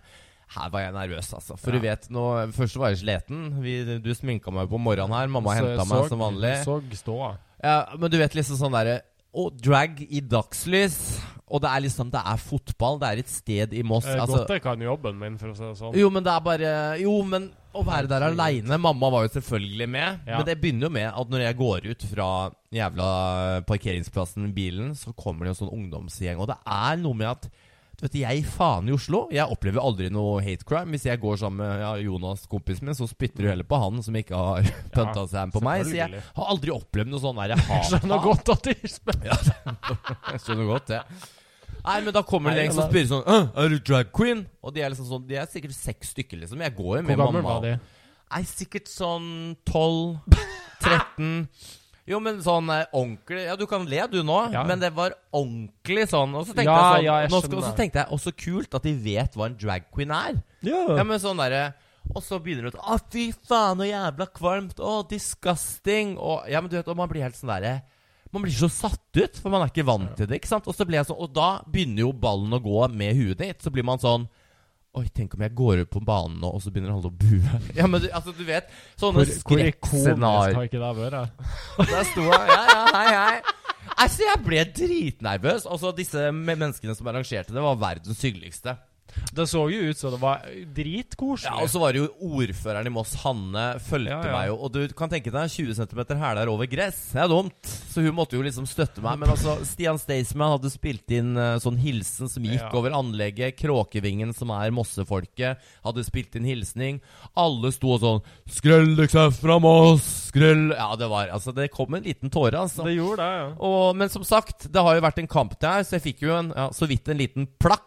her var jeg nervøs, altså. For Ja. du vet, nå, først var jeg sliten. Vi, du sminka meg på morgenen her. Mamma Så- henta meg såg- som vanlig. Såg ståa. Ja, men du vet liksom sånn derre Å, drag i dagslys. Og det er liksom Det er fotball. Det er et sted i Moss. Eh, altså, Godt jeg kan jobben min, for å si det sånn. jo, men det er bare Jo, men å være der aleine Mamma var jo selvfølgelig med. Ja. Men det begynner jo med at når jeg går ut fra jævla parkeringsplassen i bilen, så kommer det jo en sånn ungdomsgjeng. Og det er noe med at du vet, Jeg faen i Oslo. Jeg opplever aldri noe hate crime. Hvis jeg går sammen med ja, Jonas, kompisen min, så spytter du heller på han som ikke har pønta seg på meg. Så jeg selvfølgelig. har aldri opplevd noe sånn der hat. Skjønner godt at de spør. Jeg skjønner godt det. Nei, men da kommer det Nei, en som eller- spør sånn «Åh, Er du drag queen? Og de er liksom sånn De er sikkert seks stykker, liksom. Jeg går jo med Hvor gammel mamma. var de? Nei, sikkert sånn 12-13 Jo, men sånn eh, ordentlig Ja, du kan le du nå, Ja. men det var ordentlig sånn. Og så tenkte Ja, jeg sånn ja, jeg nå skal, Og skjønner. så tenkte jeg, «Å, så kult at de vet hva en drag queen er. Ja, men sånn derre Og så begynner du å Å, fy faen, så jævla kvalmt. Å, disgusting. Og, ja, men du vet, og man blir helt sånn derre Man blir så satt ut, for man er ikke vant til det. ikke sant? Og, så blir jeg sånn, og da begynner jo ballen å gå med huet ditt. Så blir man sånn Oi, tenk om jeg går ut på banen nå, og så begynner alle å bue. Ja, men du, altså, du vet, sånne Hvor, hvor ikonisk skrekkscenarioer. har ikke det vært? Der sto jeg. Ja, ja, hei, hei. Altså, jeg ble dritnervøs. Altså, disse me- menneskene som arrangerte det, var verdens hyggeligste. Det så jo ut som det var dritkoselig. Ja, altså- Og så var det jo ordføreren i Moss, Hanne, fulgte Ja, ja. meg jo. Og du kan tenke deg 20 cm hæler over gress. Det er dumt. Så hun måtte jo liksom støtte meg. Men altså, Stian Staysman hadde spilt inn eh, sånn hilsen som gikk Ja. over anlegget. Kråkevingen, som er mossefolket, hadde spilt inn hilsning. Alle sto og sånn 'Skrøll dere seg fra Moss! Skrøll!' Ja, det var Altså, det kom en liten tåre, altså. det gjorde det, ja. Og, men som sagt, det har jo vært en kamp der, så jeg fikk jo en, ja, så vidt en liten plakk.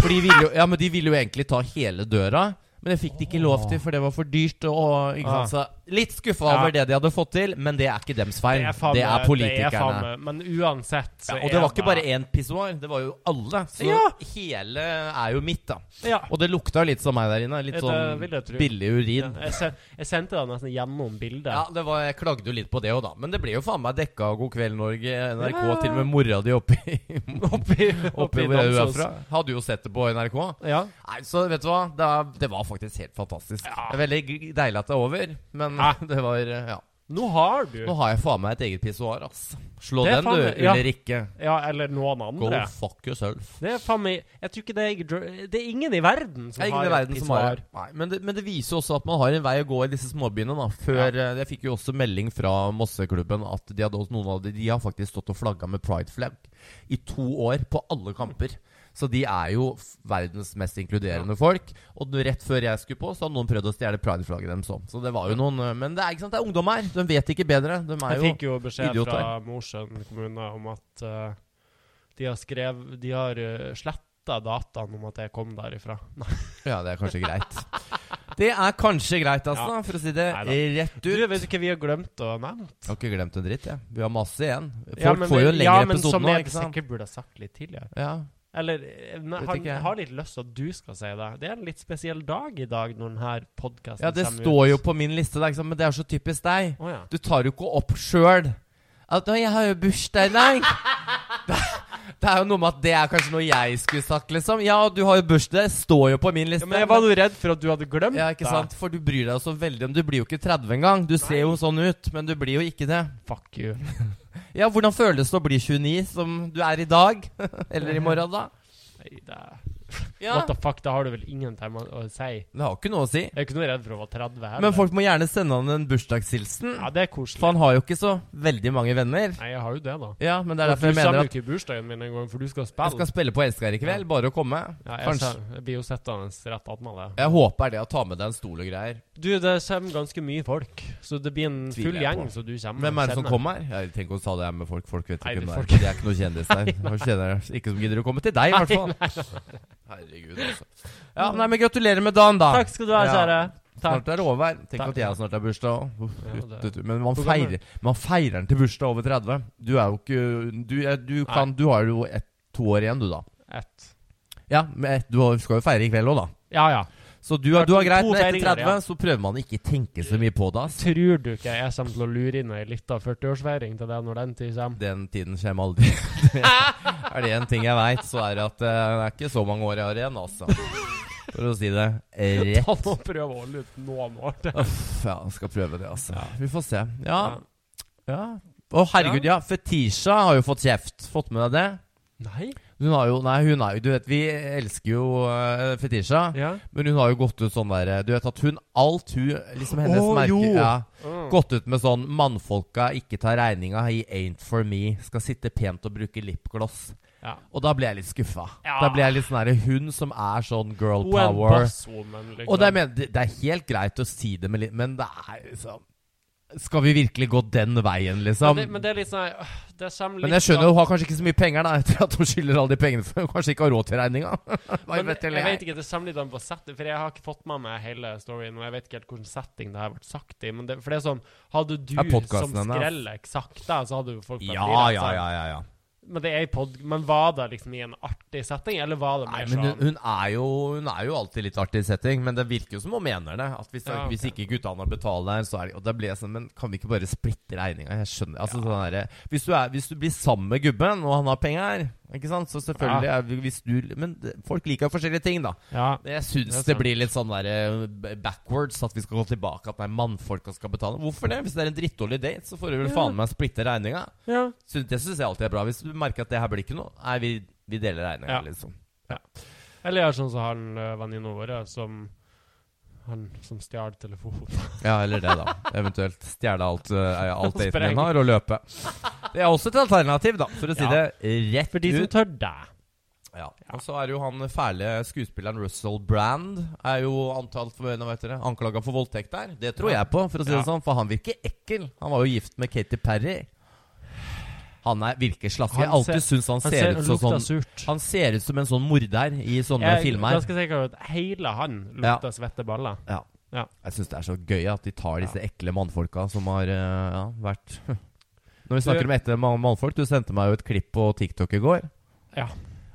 For de ville jo, ja, men de ville jo egentlig ta hele døra, men det fikk de ikke lov til, for det var for dyrt. Og, ikke sant? Så litt skuffa Ja. over det de hadde fått til, men det er ikke dems feil. Det er, faen meg- det er faen politikerne. meg- Men uansett så ja, og det var ikke bare det- én pissoar, det var jo alle. Så Ja. hele er jo mitt, da. Ja. Og det lukta litt som meg der inne. Litt Det sånn vil jeg tro. billig urin. Jeg, se, jeg sendte deg nesten gjennom bildet. Ja, det var, Jeg klagde jo litt på det òg, da. Men det ble jo faen meg dekka av God kveld, Norge, NRK, Ja, ja. til og med mora di oppe i Oppi, Oppi hvor du er Namsos. fra. Hadde jo sett det på NRK. Ja. Nei, Så vet du hva, det var, det var faktisk helt fantastisk. Ja. Det er Veldig g- deilig at det er over, men Ja. det var Ja. Nå har du Nå har jeg faen meg et eget pissoar, ass. Slå Det er den, du, faen- ja. Ulrikke. Ja, eller noen Go andre. fuck yourself. Det er faen meg Jeg tror ikke det er dr- Det er ingen i verden Det som er ingen har i verden et som har pissoar. det. Nei, men, det, men det viser jo også at man har en vei å gå i disse småbyene. da Før, eh, Jeg fikk jo også melding fra Mosseklubben at de hadde også noen av de, de har faktisk stått og flagga med prideflagg i to år på alle kamper. Så de er jo f- verdens mest inkluderende folk. Og nå rett før jeg skulle på, så hadde noen prøvd å stjele prideflagget deres òg. Så det var jo noen eh, Men det er ikke sant, det er ungdom her. De vet ikke bedre. De er Jeg jo fikk jo beskjed idioter. fra Mosjøen kommune om at eh, de har skrev De har uh, sletta dataen om at jeg kom derifra. Ja, det er kanskje greit. Det er kanskje greit, altså, for å si det Neida. rett Du, ut. vet du hva vi har glemt å nevne? Jeg har ikke glemt en dritt, jeg. Vi har masse igjen. Folk Ja, men- får jo en lengre ja, men episode som nå, jeg ikke sant? sikkert burde ha sagt litt tidligere. Ja. Eller eh, men Vet han ikke jeg. har litt lyst til at du skal si det. Det er en litt spesiell dag i dag når denne podkasten ja, det står jo på min liste, der, ikke sant? men det er så typisk deg. Å ja. Du tar jo ikke opp sjøl at «Å, 'Jeg har jo bursdag i dag'. Det, det er jo noe med at det er kanskje noe jeg skulle sagt, liksom. Ja, du har jo bursdag, det står jo på min liste. ja, men jeg var jo redd for at du hadde glemt ja, ikke sant? For du bryr deg jo så veldig om Du blir jo ikke 30 engang. Du ser jo sånn ut, men du blir jo ikke det. det. Fuck you. Ja, hvordan føles det å bli 29, som du er i dag? Eller i morgen, da? Nei, det, Ja. What the fuck, da har du vel ingenting å, å si. Det har jo ikke noe å si. Jeg er ikke noe redd for å være 30 heller. Men folk må gjerne sende han en bursdagshilsen. Ja, det er koselig. For han har jo ikke så veldig mange venner. Nei, jeg har jo det, da. Ja, men det er Og derfor jeg du savner mener jo at ikke bursdagen min engang, for du skal jeg spille. skal spille på Elsker i kveld. Bare å komme. ja, jeg, Kanskje. sa- jeg blir jo sittende rett attmed deg. Jeg håper det å ta med deg en stol og greier. Du, det kommer ganske mye folk, så det blir en Tviler full jeg gjeng. på. Så du kommer Hvem er Mm, det som senere. kommer? Jeg tenker å ta det her med folk. Folk vet Nei, ikke det hvem det får er. Det er ikke noen kjendis der. Jeg kjenner Ikke som gidder å komme til deg, i hvert fall. Herregud, altså. Ja, nei, men gratulerer med dagen, da. Takk skal du ha, Ja. kjære. Takk. Snart er det over. Tenk Takk. at jeg snart er bursdag òg. Uff, Ja, ut, det- ut, ut. Men man Hvor gammel? feirer, man feirer den til bursdag over 30. Du er jo ikke Du, er- du, kan, du har jo ett, to år igjen, du, da. Ett. Ja, men ett- du har- skal jo feire i kveld òg, da. Ja, ja. Så du, har- du har To greit, men etter feiringer, 30 ja. så prøver man ikke tenke så mye på det. Ass. Tror du ikke jeg kommer til å lure inn ei lita 40-årsfeiring til deg når den tid kommer? Den tiden kommer aldri. er det en ting jeg veit, så er det at eh, det er ikke så mange år jeg har igjen, altså. For å si det rett. Han må prøve å holde ut noen år til. Uff, ja, jeg skal prøve det, altså. Ja. Vi får se. Ja, Ja. Å, herregud, ja. Fetisha har jo fått kjeft. Fått med deg det? Nei? Hun har jo Nei, hun er jo Du vet, vi elsker jo eh, Fetisha, Ja. men hun har jo gått ut sånn der eh, Du vet at hun Alt hun Liksom hennes Å, merke jo. ja, Mm. Gått ut med sånn 'Mannfolka ikke tar regninga', 'he ain't for me', 'skal sitte pent og bruke lipgloss'. Ja. Og da ble jeg litt skuffa. Ja. Da ble jeg litt sånn derre Hun som er sånn girl Hun er en power. bosswoman, liksom. Og det, er men, det det er helt greit å si det med litt Men det er liksom Skal vi virkelig gå den veien, liksom? men, det, men det er litt sånn øh, Det kommer litt sånn- Men jeg skjønner an- hun har kanskje ikke så mye penger da etter at hun skylder alle de pengene, for hun kanskje ikke har råd til regninga. Hva men vet jeg jeg? vet ikke, det kommer litt an på setting, for jeg har ikke fått med meg hele storyen. Og jeg vet ikke helt hvilken setting det her ble sagt i. Men det, for det er sånn Hadde du Er podcasten som henne, ass? skrellek sagt det, så hadde jo folk Ja, blitt rett ja, sånn. ja, ja, ja. Men det er i pod... Men var det liksom i en artig setting, eller var det Nei, mer men hun, sånn hun, er jo, hun er jo alltid litt artig i setting, men det virker jo som hun mener det. At hvis, Ja, ok. hvis ikke guttene betaler, så er det Og da blir jeg sånn Men kan vi ikke bare splitte regninga? Jeg skjønner altså, sånn derre- hvis, du er, hvis du blir sammen med gubben, og han har penger, ikke sant, så selvfølgelig er vi- hvis du Men det- folk liker forskjellige ting, da. Ja. Men Jeg syns Det er det, sant. blir litt sånn der eh, b- backwards at vi skal gå tilbake at nei, mannfolka skal betale. Hvorfor det? Hvis det er en drittdårlig date, så får du vel Ja. faen meg splitte regninga. ja. Syns- Det syns jeg alltid er bra. Hvis du merker at det her blir ikke noe, nei, vi, vi deler regninga, Ja. liksom. Eller gjør sånn som han eh, venninna vår, som han som stjal telefonen. Ja, eller det, da. Eventuelt stjele alt, eh, alt Og daten spreng. din har, og løpe. Det er også et alternativ, da, for å si Ja. det rett For de som ut. tør deg. Ja. Og så er jo han fæle skuespilleren Russell Brand Er jo antalt for, nå vet dere, anklaga for voldtekt der. Det tror jeg på, for å si Ja. det sånn, for han virker ekkel. Han var jo gift med Katy Perry. Han er, virker slaskig. Jeg har Han ser- alltid syntes han, Han ser, ser ut og som lukter sånn surt. Han ser ut som en sånn morder i sånne Jeg er filmer. ganske sikker på at hele han Ja. lukter svette baller. Ja. Ja. Jeg syns det er så gøy at de tar disse ekle mannfolka som har eh, ja, vært Når vi snakker om ekle mann- mannfolk, du sendte meg jo et klipp på TikTok i går. Ja.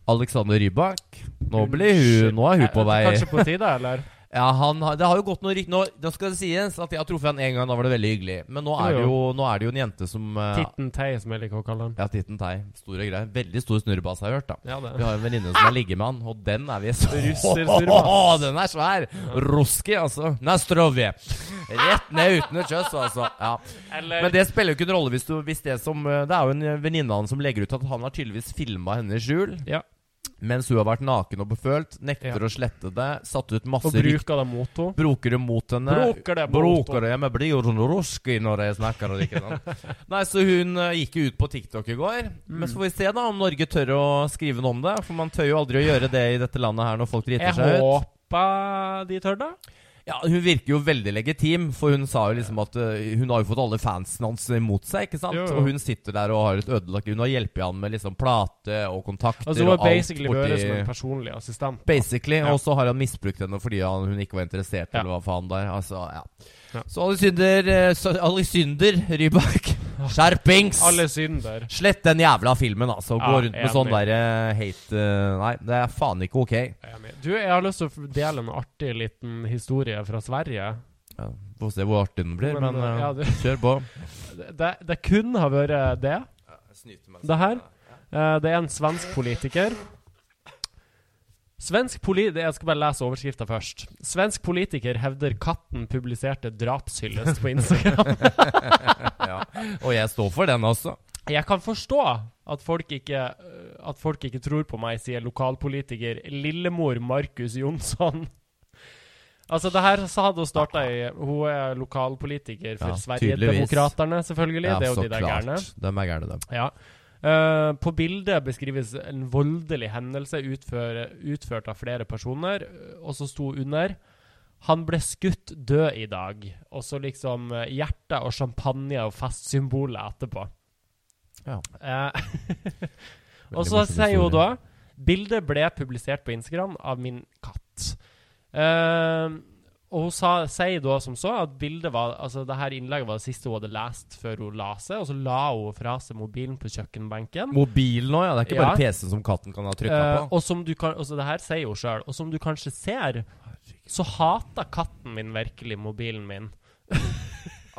Alexander Rybak. Nå, blir hun, nå er hun Eh, på vei Kanskje på tide, eller? ja, han har, Det har jo gått noe rykt nå, Da skal det sies at jeg har truffet han en gang, da var det veldig hyggelig. Men nå er Jo, det jo. jo, nå er det jo en jente som eh, Titten Tei, som jeg liker å kalle den. Ja, titten tei. Store greier. Veldig stor snurrebass, har jeg hørt. da Ja, det. vi har en venninne som har ligget med han, og den er vi så Russersurbass. Den er svær! Ruski, altså. Nastrovje. Rett ned uten et kjøss, altså. Ja. Eller Men det spiller jo ikke en rolle hvis, du, hvis det som eh, Det er jo en eh, venninne av han som legger ut at han har tydeligvis filma henne i skjul. Ja. Mens hun har vært naken og befølt. Nekter Ja. å slette det. Satt ut Og masse rykt. bruker det mot henne. Bruker det mot henne. Bruker det mot Bruker det. Jeg blir jo sånn ruski når jeg snakker og ikke sånn. Nei, så hun eh, gikk jo ut på TikTok i går. Mm. Men så får vi se da om Norge tør å skrive noe om det. For man tør jo aldri å gjøre det i dette landet her når folk driter Jeg seg ut. håper de tør det. Ja, Hun virker jo veldig legitim, for hun sa jo liksom at eh, hun har jo fått alle fansen hans imot seg. ikke sant? Jo, jo. Og hun sitter der og har et ødelagt liv. Hun har hjulpet han med liksom plate og kontakter Altså, hun har og alt. basically vært som en personlig assistent. Basically, Ja. Og så har han misbrukt henne fordi han, hun ikke var interessert, Ja. eller hva faen der. Altså, ja. Ja. Så Alexander, eh, så Alexander Rybak, skjerpings! Alle synder. Slett den jævla filmen, altså. Gå Ja, rundt med sånn der enig. eh, hate eh, Nei, det er faen ikke ok. Jeg er enig. Du, jeg har lyst til å dele en artig liten historie fra Sverige. Ja, Får se hvor artig den blir, men, Men, eh, eh, ja, du- kjør på. Det, det kun har vært det. Det her? Eh, Det er en svensk politiker. Svensk poli Jeg skal bare lese overskrifta først. Svensk politiker hevder katten publiserte drapshyllest på Instagram. ja. Og jeg står for den også. Jeg kan forstå at folk ikke, eh, at folk ikke tror på meg, sier lokalpolitiker Lillemor Markus Jonsson. Altså, det her så hadde hun starta i Hun er lokalpolitiker for Ja, Sverigedemokraterna, selvfølgelig. det er jo de der gærne. De er gærne, dem. Ja. Eh, på bildet beskrives en voldelig hendelse utføre, utført av flere personer, eh, og så sto under Han ble skutt død i dag. Og så liksom eh, hjerte og champagne og festsymbolet etterpå. Ja. Eh, Veldig og så morsom sier hun da historie. Bildet ble publisert på Instagram av min katt. Eh, og hun sa, sier da som så at bildet var Altså det her innlegget var det siste hun hadde lest før hun la seg, og så la hun fra seg mobilen på kjøkkenbenken. Mobil nå, ja. Det er ikke bare Ja. PC-en som katten kan ha trykka Eh, på. og som du kan Altså det her sier hun sjøl, og som du kanskje ser, så hater katten min virkelig mobilen min.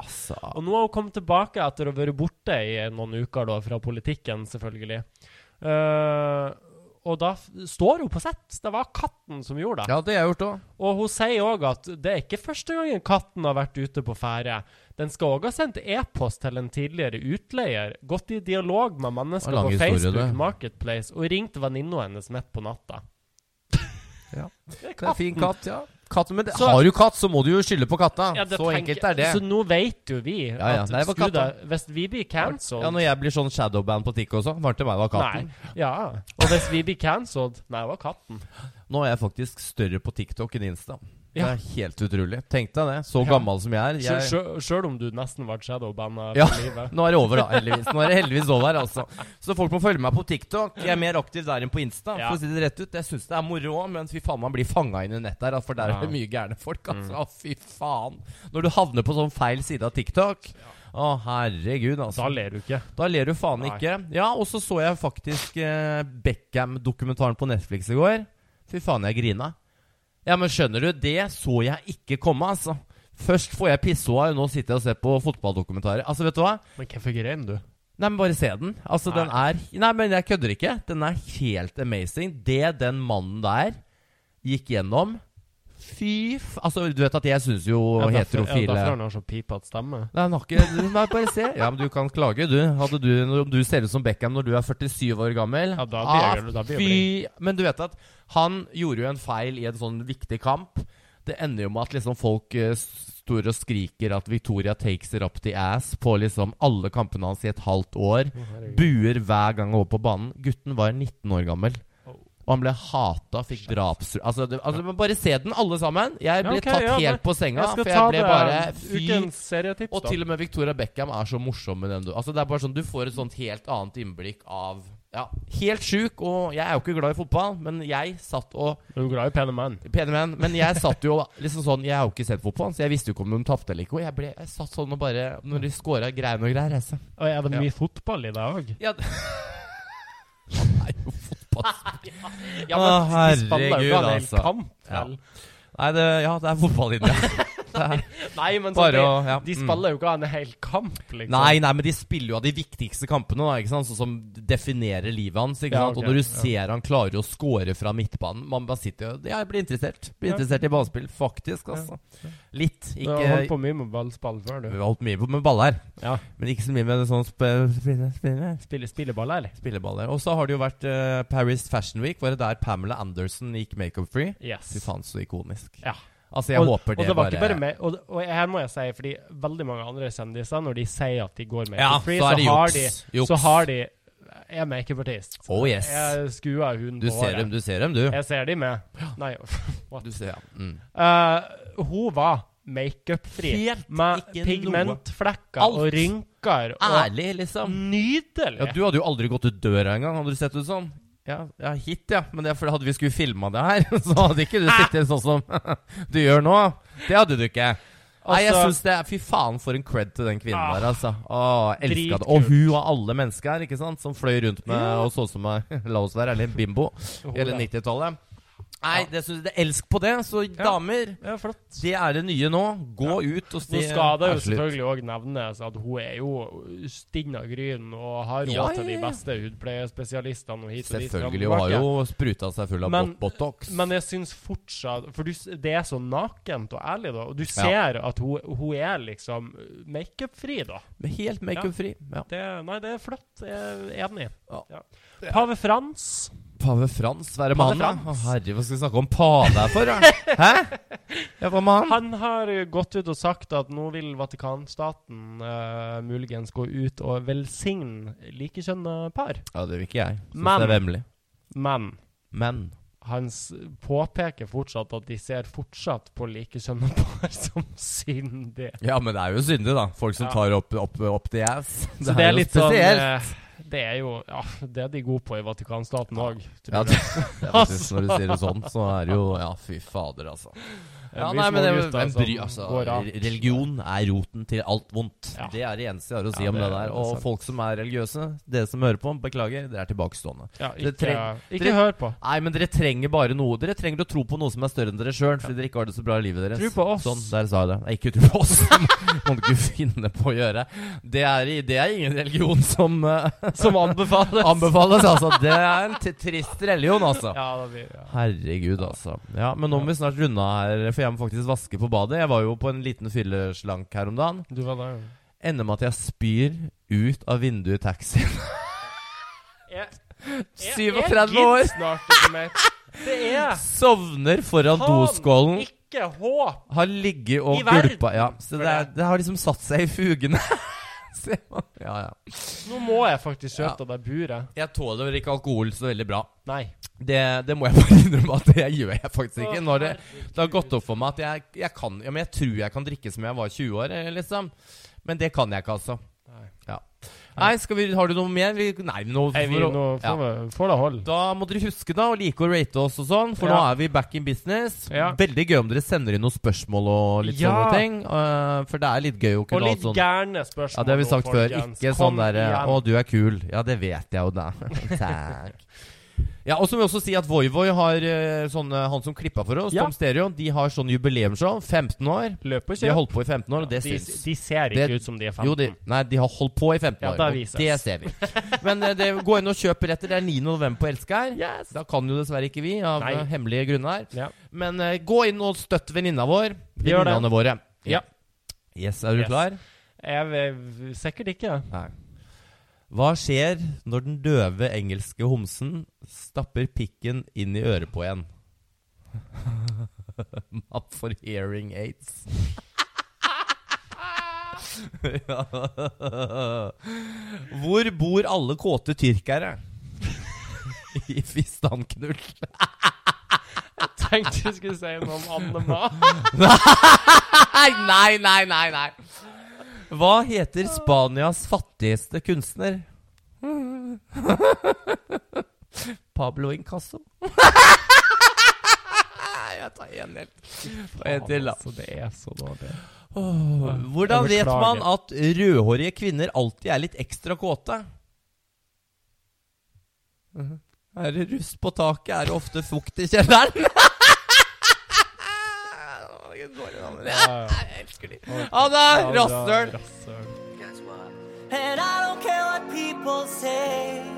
Altså, Og nå har hun kommet tilbake etter å ha vært borte i noen uker da, fra politikken, selvfølgelig. Eh, og da f- står hun på sett. Det var katten som gjorde det. ja, det har jeg gjort òg. Og hun sier òg at det er ikke første gangen katten har vært ute på ferde. Den skal òg ha sendt e-post til en tidligere utleier, gått i dialog med mennesker Det var en på lang historie, Facebook det. Marketplace og ringt venninna hennes midt på natta. Ja. Det Det er er en fin katten. katt, ja. Katten, men det, Så- har du katt, så må du jo skylde på katta. Ja, det så tenker- enkelt er det. Så nå vet jo vi Ja, ja. at Nei, det var skulle katten. det- hvis vi blir cancelled Ja, Når jeg blir sånn shadowband på TikK også, var det til meg det var katten. Nei. Ja. Og hvis vi blir cancelled Nei, det var katten. Nå er jeg faktisk større på TikTok enn Insta. Det Ja. er helt utrolig. Tenk deg det. Så Ja. gammel som jeg er. Jeg, Sjø- sjø- Sjøl om du nesten ble shadowbanna Ja. for livet. Nå er det over, da. Heldigvis. Nå er det heldigvis over, altså. Så folk må følge meg på TikTok. Jeg er mer aktiv der enn på Insta. Ja. For å si det rett ut Jeg syns det er moro òg, men fy faen, man blir fanga inn i nett der. For der er Ja. altså. det Mm. mye gærne folk, altså. Fy faen. Når du havner på sånn feil side av TikTok Å, herregud, altså. Da ler du ikke. Da ler du faen Nei. ikke. Ja, og så så jeg faktisk eh, Beckham-dokumentaren på Netflix i går. Fy faen, jeg grina. Ja, men skjønner du, det så jeg ikke komme, altså. Først får jeg pissoa, og nå sitter jeg og ser på fotballdokumentarer. Altså, vet du hva? Men hvorfor grein du? Nei, men bare se den. Altså, den er Nei, men jeg kødder ikke. Den er helt amazing. Det den mannen der gikk gjennom Fy f... Altså, du vet at jeg syns jo Ja, heterofile derfor har han så pipete stemme. Nei, han har ikke Nei, bare se. Ja, men du kan klage, du. Hadde du om du ser ut som Beckham når du er 47 år gammel Ah, Ja, da blir jeg- da blir jeg blid. Fy Men du vet at han gjorde jo en feil i en sånn viktig kamp. Det ender jo med at liksom folk eh, står og skriker at Victoria takes it up the ass på liksom alle kampene hans i et halvt år. Buer hver gang over på banen. Gutten var 19 år gammel. Og han ble hata, fikk drapstru... Altså, det, altså, men bare se den, alle sammen. Jeg Ja, ble ok, tatt ja, men helt på senga, Jeg skal for ta jeg ble det bare Fy ukens serietips, og til og med Victoria Beckham er så morsom med den du Altså det er bare sånn Du får et sånt helt annet innblikk av Ja, helt sjuk. Og jeg er jo ikke glad i fotball, men jeg satt og da. Du er glad i pene menn. Pene menn. Men jeg satt jo liksom sånn Jeg har jo ikke sett fotball, så jeg visste jo ikke om de tapte eller ikke. Og jeg, ble, jeg satt sånn og bare Når de scora greier og greier, jeg sa Oi, er det Ja. mye fotball i deg òg? Ja, det er jo fotball. Ja, Å, men de spiller herregud, jo ikke en hel altså. kamp, vel? Nei, det, ja, det er fotball inni her. Nei, men så Bare de, å- ja, de mm. spiller jo ikke en hel kamp, liksom. Nei, nei, men de spiller jo av de viktigste kampene, da, ikke sant? Sånn som definerer livet hans. Ikke Ja, sant? ok, Og når du ja. ser han klarer å score fra midtbanen Man bare sitter og Ja, jeg blir interessert. Blir Ja. interessert i ballspill, faktisk, altså. Litt. Du Ikke har holdt på mye med ballspill før, Vi du. har holdt mye på med baller, Ja. men ikke så mye med sånn sp spille, spille, Spiller spilleball, eller? spilleballer. Og så har det jo vært eh, Paris Fashion Week. Var det der Pamela Anderson gikk makeup free? Yes. Fy faen, så ikonisk. Ja. Altså, jeg og, håper det, og det var ikke bare meg, og, og her må jeg si, fordi veldig mange andre kjendiser, når de sier at de Ja, går makeup-free, så er det så, har de, juks. Juks. så har de Jeg er makeup-artist. Oh yes. Jeg skuer huden Du på ser dem, du ser dem, du. Jeg ser dem med. Nei, what? Du ser, ja. Mm. Eh, hun var makeup-fri. Helt Med ikke noe. pigmentflekker Alt. og rynker. Og Ærlig, liksom. Nydelig! Ja, du hadde jo aldri gått ut døra engang, hadde du sett ut sånn. Ja, ja, hit, ja. Men det er fordi hadde vi skulle filma det her, så hadde ikke du sittet sånn som du gjør nå. Det hadde du ikke. Nei, jeg Altså- synes det er, Fy faen, for en cred til den kvinnen Ah, der, altså. Åh, elska det. dritkult. Og hun og alle mennesker her, ikke sant, som fløy rundt med Ja. og så ut som ei La oss være ærlige, bimbo. Hun Hele der. 90-tallet. Nei, Ja. det synes jeg det er elsk på det. Så damer, Ja, flott. det er det nye nå. Gå ut og Nå si skal det er jo slutt. selvfølgelig òg nevnes at hun er jo stinn av gryn og har råd Ja, ja, til de ja. beste hudpleiespesialistene og hit og dit. Selvfølgelig. fram Hun og har tilbake. jo spruta seg full av Men- bot- botox. Men jeg syns fortsatt For du, s- det er så nakent og ærlig, da. Og du ser at hun, hun er liksom makeupfri, da. Men Helt makeupfri. Ja. Det, nei, det er flott. Jeg er enig. Ja. Ja. Pave Frans. Pave Frans, hva er det med Pave han, da? Å, Frans. herre, hva skal vi snakke om pave her for? da? Hæ? Ja, hva med han? Han har eh, gått ut og sagt at nå vil Vatikanstaten eh, muligens gå ut og velsigne likekjønna par. Ja, det vil ikke jeg. Syns Men- det er vemmelig. Men Men han s- påpeker fortsatt at de ser fortsatt på likekjønna par som syndig. Ja, men det er jo syndig, da. Folk som Ja. tar opp, opp, opp the ass. Så det er, jo litt sånn spesielt. eh, Det er jo ja, det er de gode på i Vatikanstaten òg. Ja, det, det er faktisk, når du sier det sånn, så er det jo Ja, fy fader, altså. Eh, Ja, nei, men det, hvem bry, altså, re- religion er roten til alt vondt. Ja. Det er det eneste jeg har å si Ja, om det det er- det der. er Og sant. folk som er religiøse, dere som hører på, beklager, dere er tilbakestående. Ja, det ikke tre- ikke tre- hør på. Nei, men dere trenger bare noe. Dere trenger å tro på noe som er større enn dere sjøl, fordi dere ikke har det så bra i livet deres. Tro på oss. Sånn, der sa jeg det. Nei, ikke tro på oss. Må du ikke finne på å gjøre. Det er, det er ingen religion som eh, Som anbefales. anbefales, altså. Det er en t trist religion, altså. ja, det blir, ja. Herregud, altså. Ja, Men nå må vi snart runde av her, for jeg må faktisk vaske på badet. Jeg var jo på en liten fylleslank her om dagen. Du var der. Ender med at jeg spyr ut av vinduet i taxien. Jeg- jeg- 37 jeg år! gidder snart ikke mer. Det er Sovner foran Faen, doskålen. Ikke håp! Har ligget og I verden gulpa Ja, så for det, er, det. det har liksom satt seg i fugene. Ser man. ja, ja. Nå må jeg faktisk Ja. kjøpe av deg buret. Jeg tåler ikke alkohol så veldig bra. Nei. Det, det må jeg bare innrømme at det gjør jeg faktisk ikke. Å, Når det, det har gått opp for meg at jeg, jeg kan Ja, men jeg tror jeg kan drikke som jeg var 20 år, eh, liksom. Men det kan jeg ikke, altså. Nei. Ja. Nei, skal vi, har du noe mer? Vi, nei, nå, Nei, vi, nå får, ja. vi- får det holde. Da må dere huske da å like å rate oss og sånn, for nå Ja. er vi back in business. Ja. Veldig gøy om dere sender inn noen spørsmål og litt Ja. sånne ting. eh, for det er litt gøy å Og kunne ha litt sånn gærne spørsmål. Ja, det har vi nå, sagt før. folkens. Ikke Kom sånn derre igjen. 'Å, du er kul'. Ja, det vet jeg jo, da. Takk. Ja, og så må vi også si at Voivoi har eh, sånne Han som klippa for oss, Ja. Tom Stereo, de har sånn jubileumsshow. 15 år. Løp og De har kjøp. holdt på i 15 år, og det De, syns. de ser ikke Det- ut som de er 15. Jo, de, nei, de har holdt på i 15 Ja, år, da og vises. det ser vi. Men eh, det, gå inn og kjøp billetter. Det er 9. november på Elsker. Yes! Da kan jo dessverre ikke vi, av Nei. eh, hemmelige grunner. Ja. Men eh, gå inn og støtt venninna vår. Gjør det. Venninnene våre. Ja. Yes, er du Yes. klar? Jeg vil sikkert ikke. Nei. Hva skjer når den døve engelske homsen stapper pikken inn i øret på en? Map for hearing aids. ja. Hvor bor alle kåte tyrkere? I fistanknull. Tenkte du skulle si noe om Annema. Nei, nei, nei, nei, nei. Hva heter Spanias fattigste kunstner? Pablo Incasso. Jeg tar én helt. Og en til, da. Altså, det er så dårlig. Hvordan Jeg vet man beklager. at rødhårige kvinner alltid er litt ekstra kåte? Mhm. Er det rust på taket, er det ofte fukt i kjelleren. Jeg elsker de. Ha det! Rasshøl! Rasshøl. And I don't care what people say.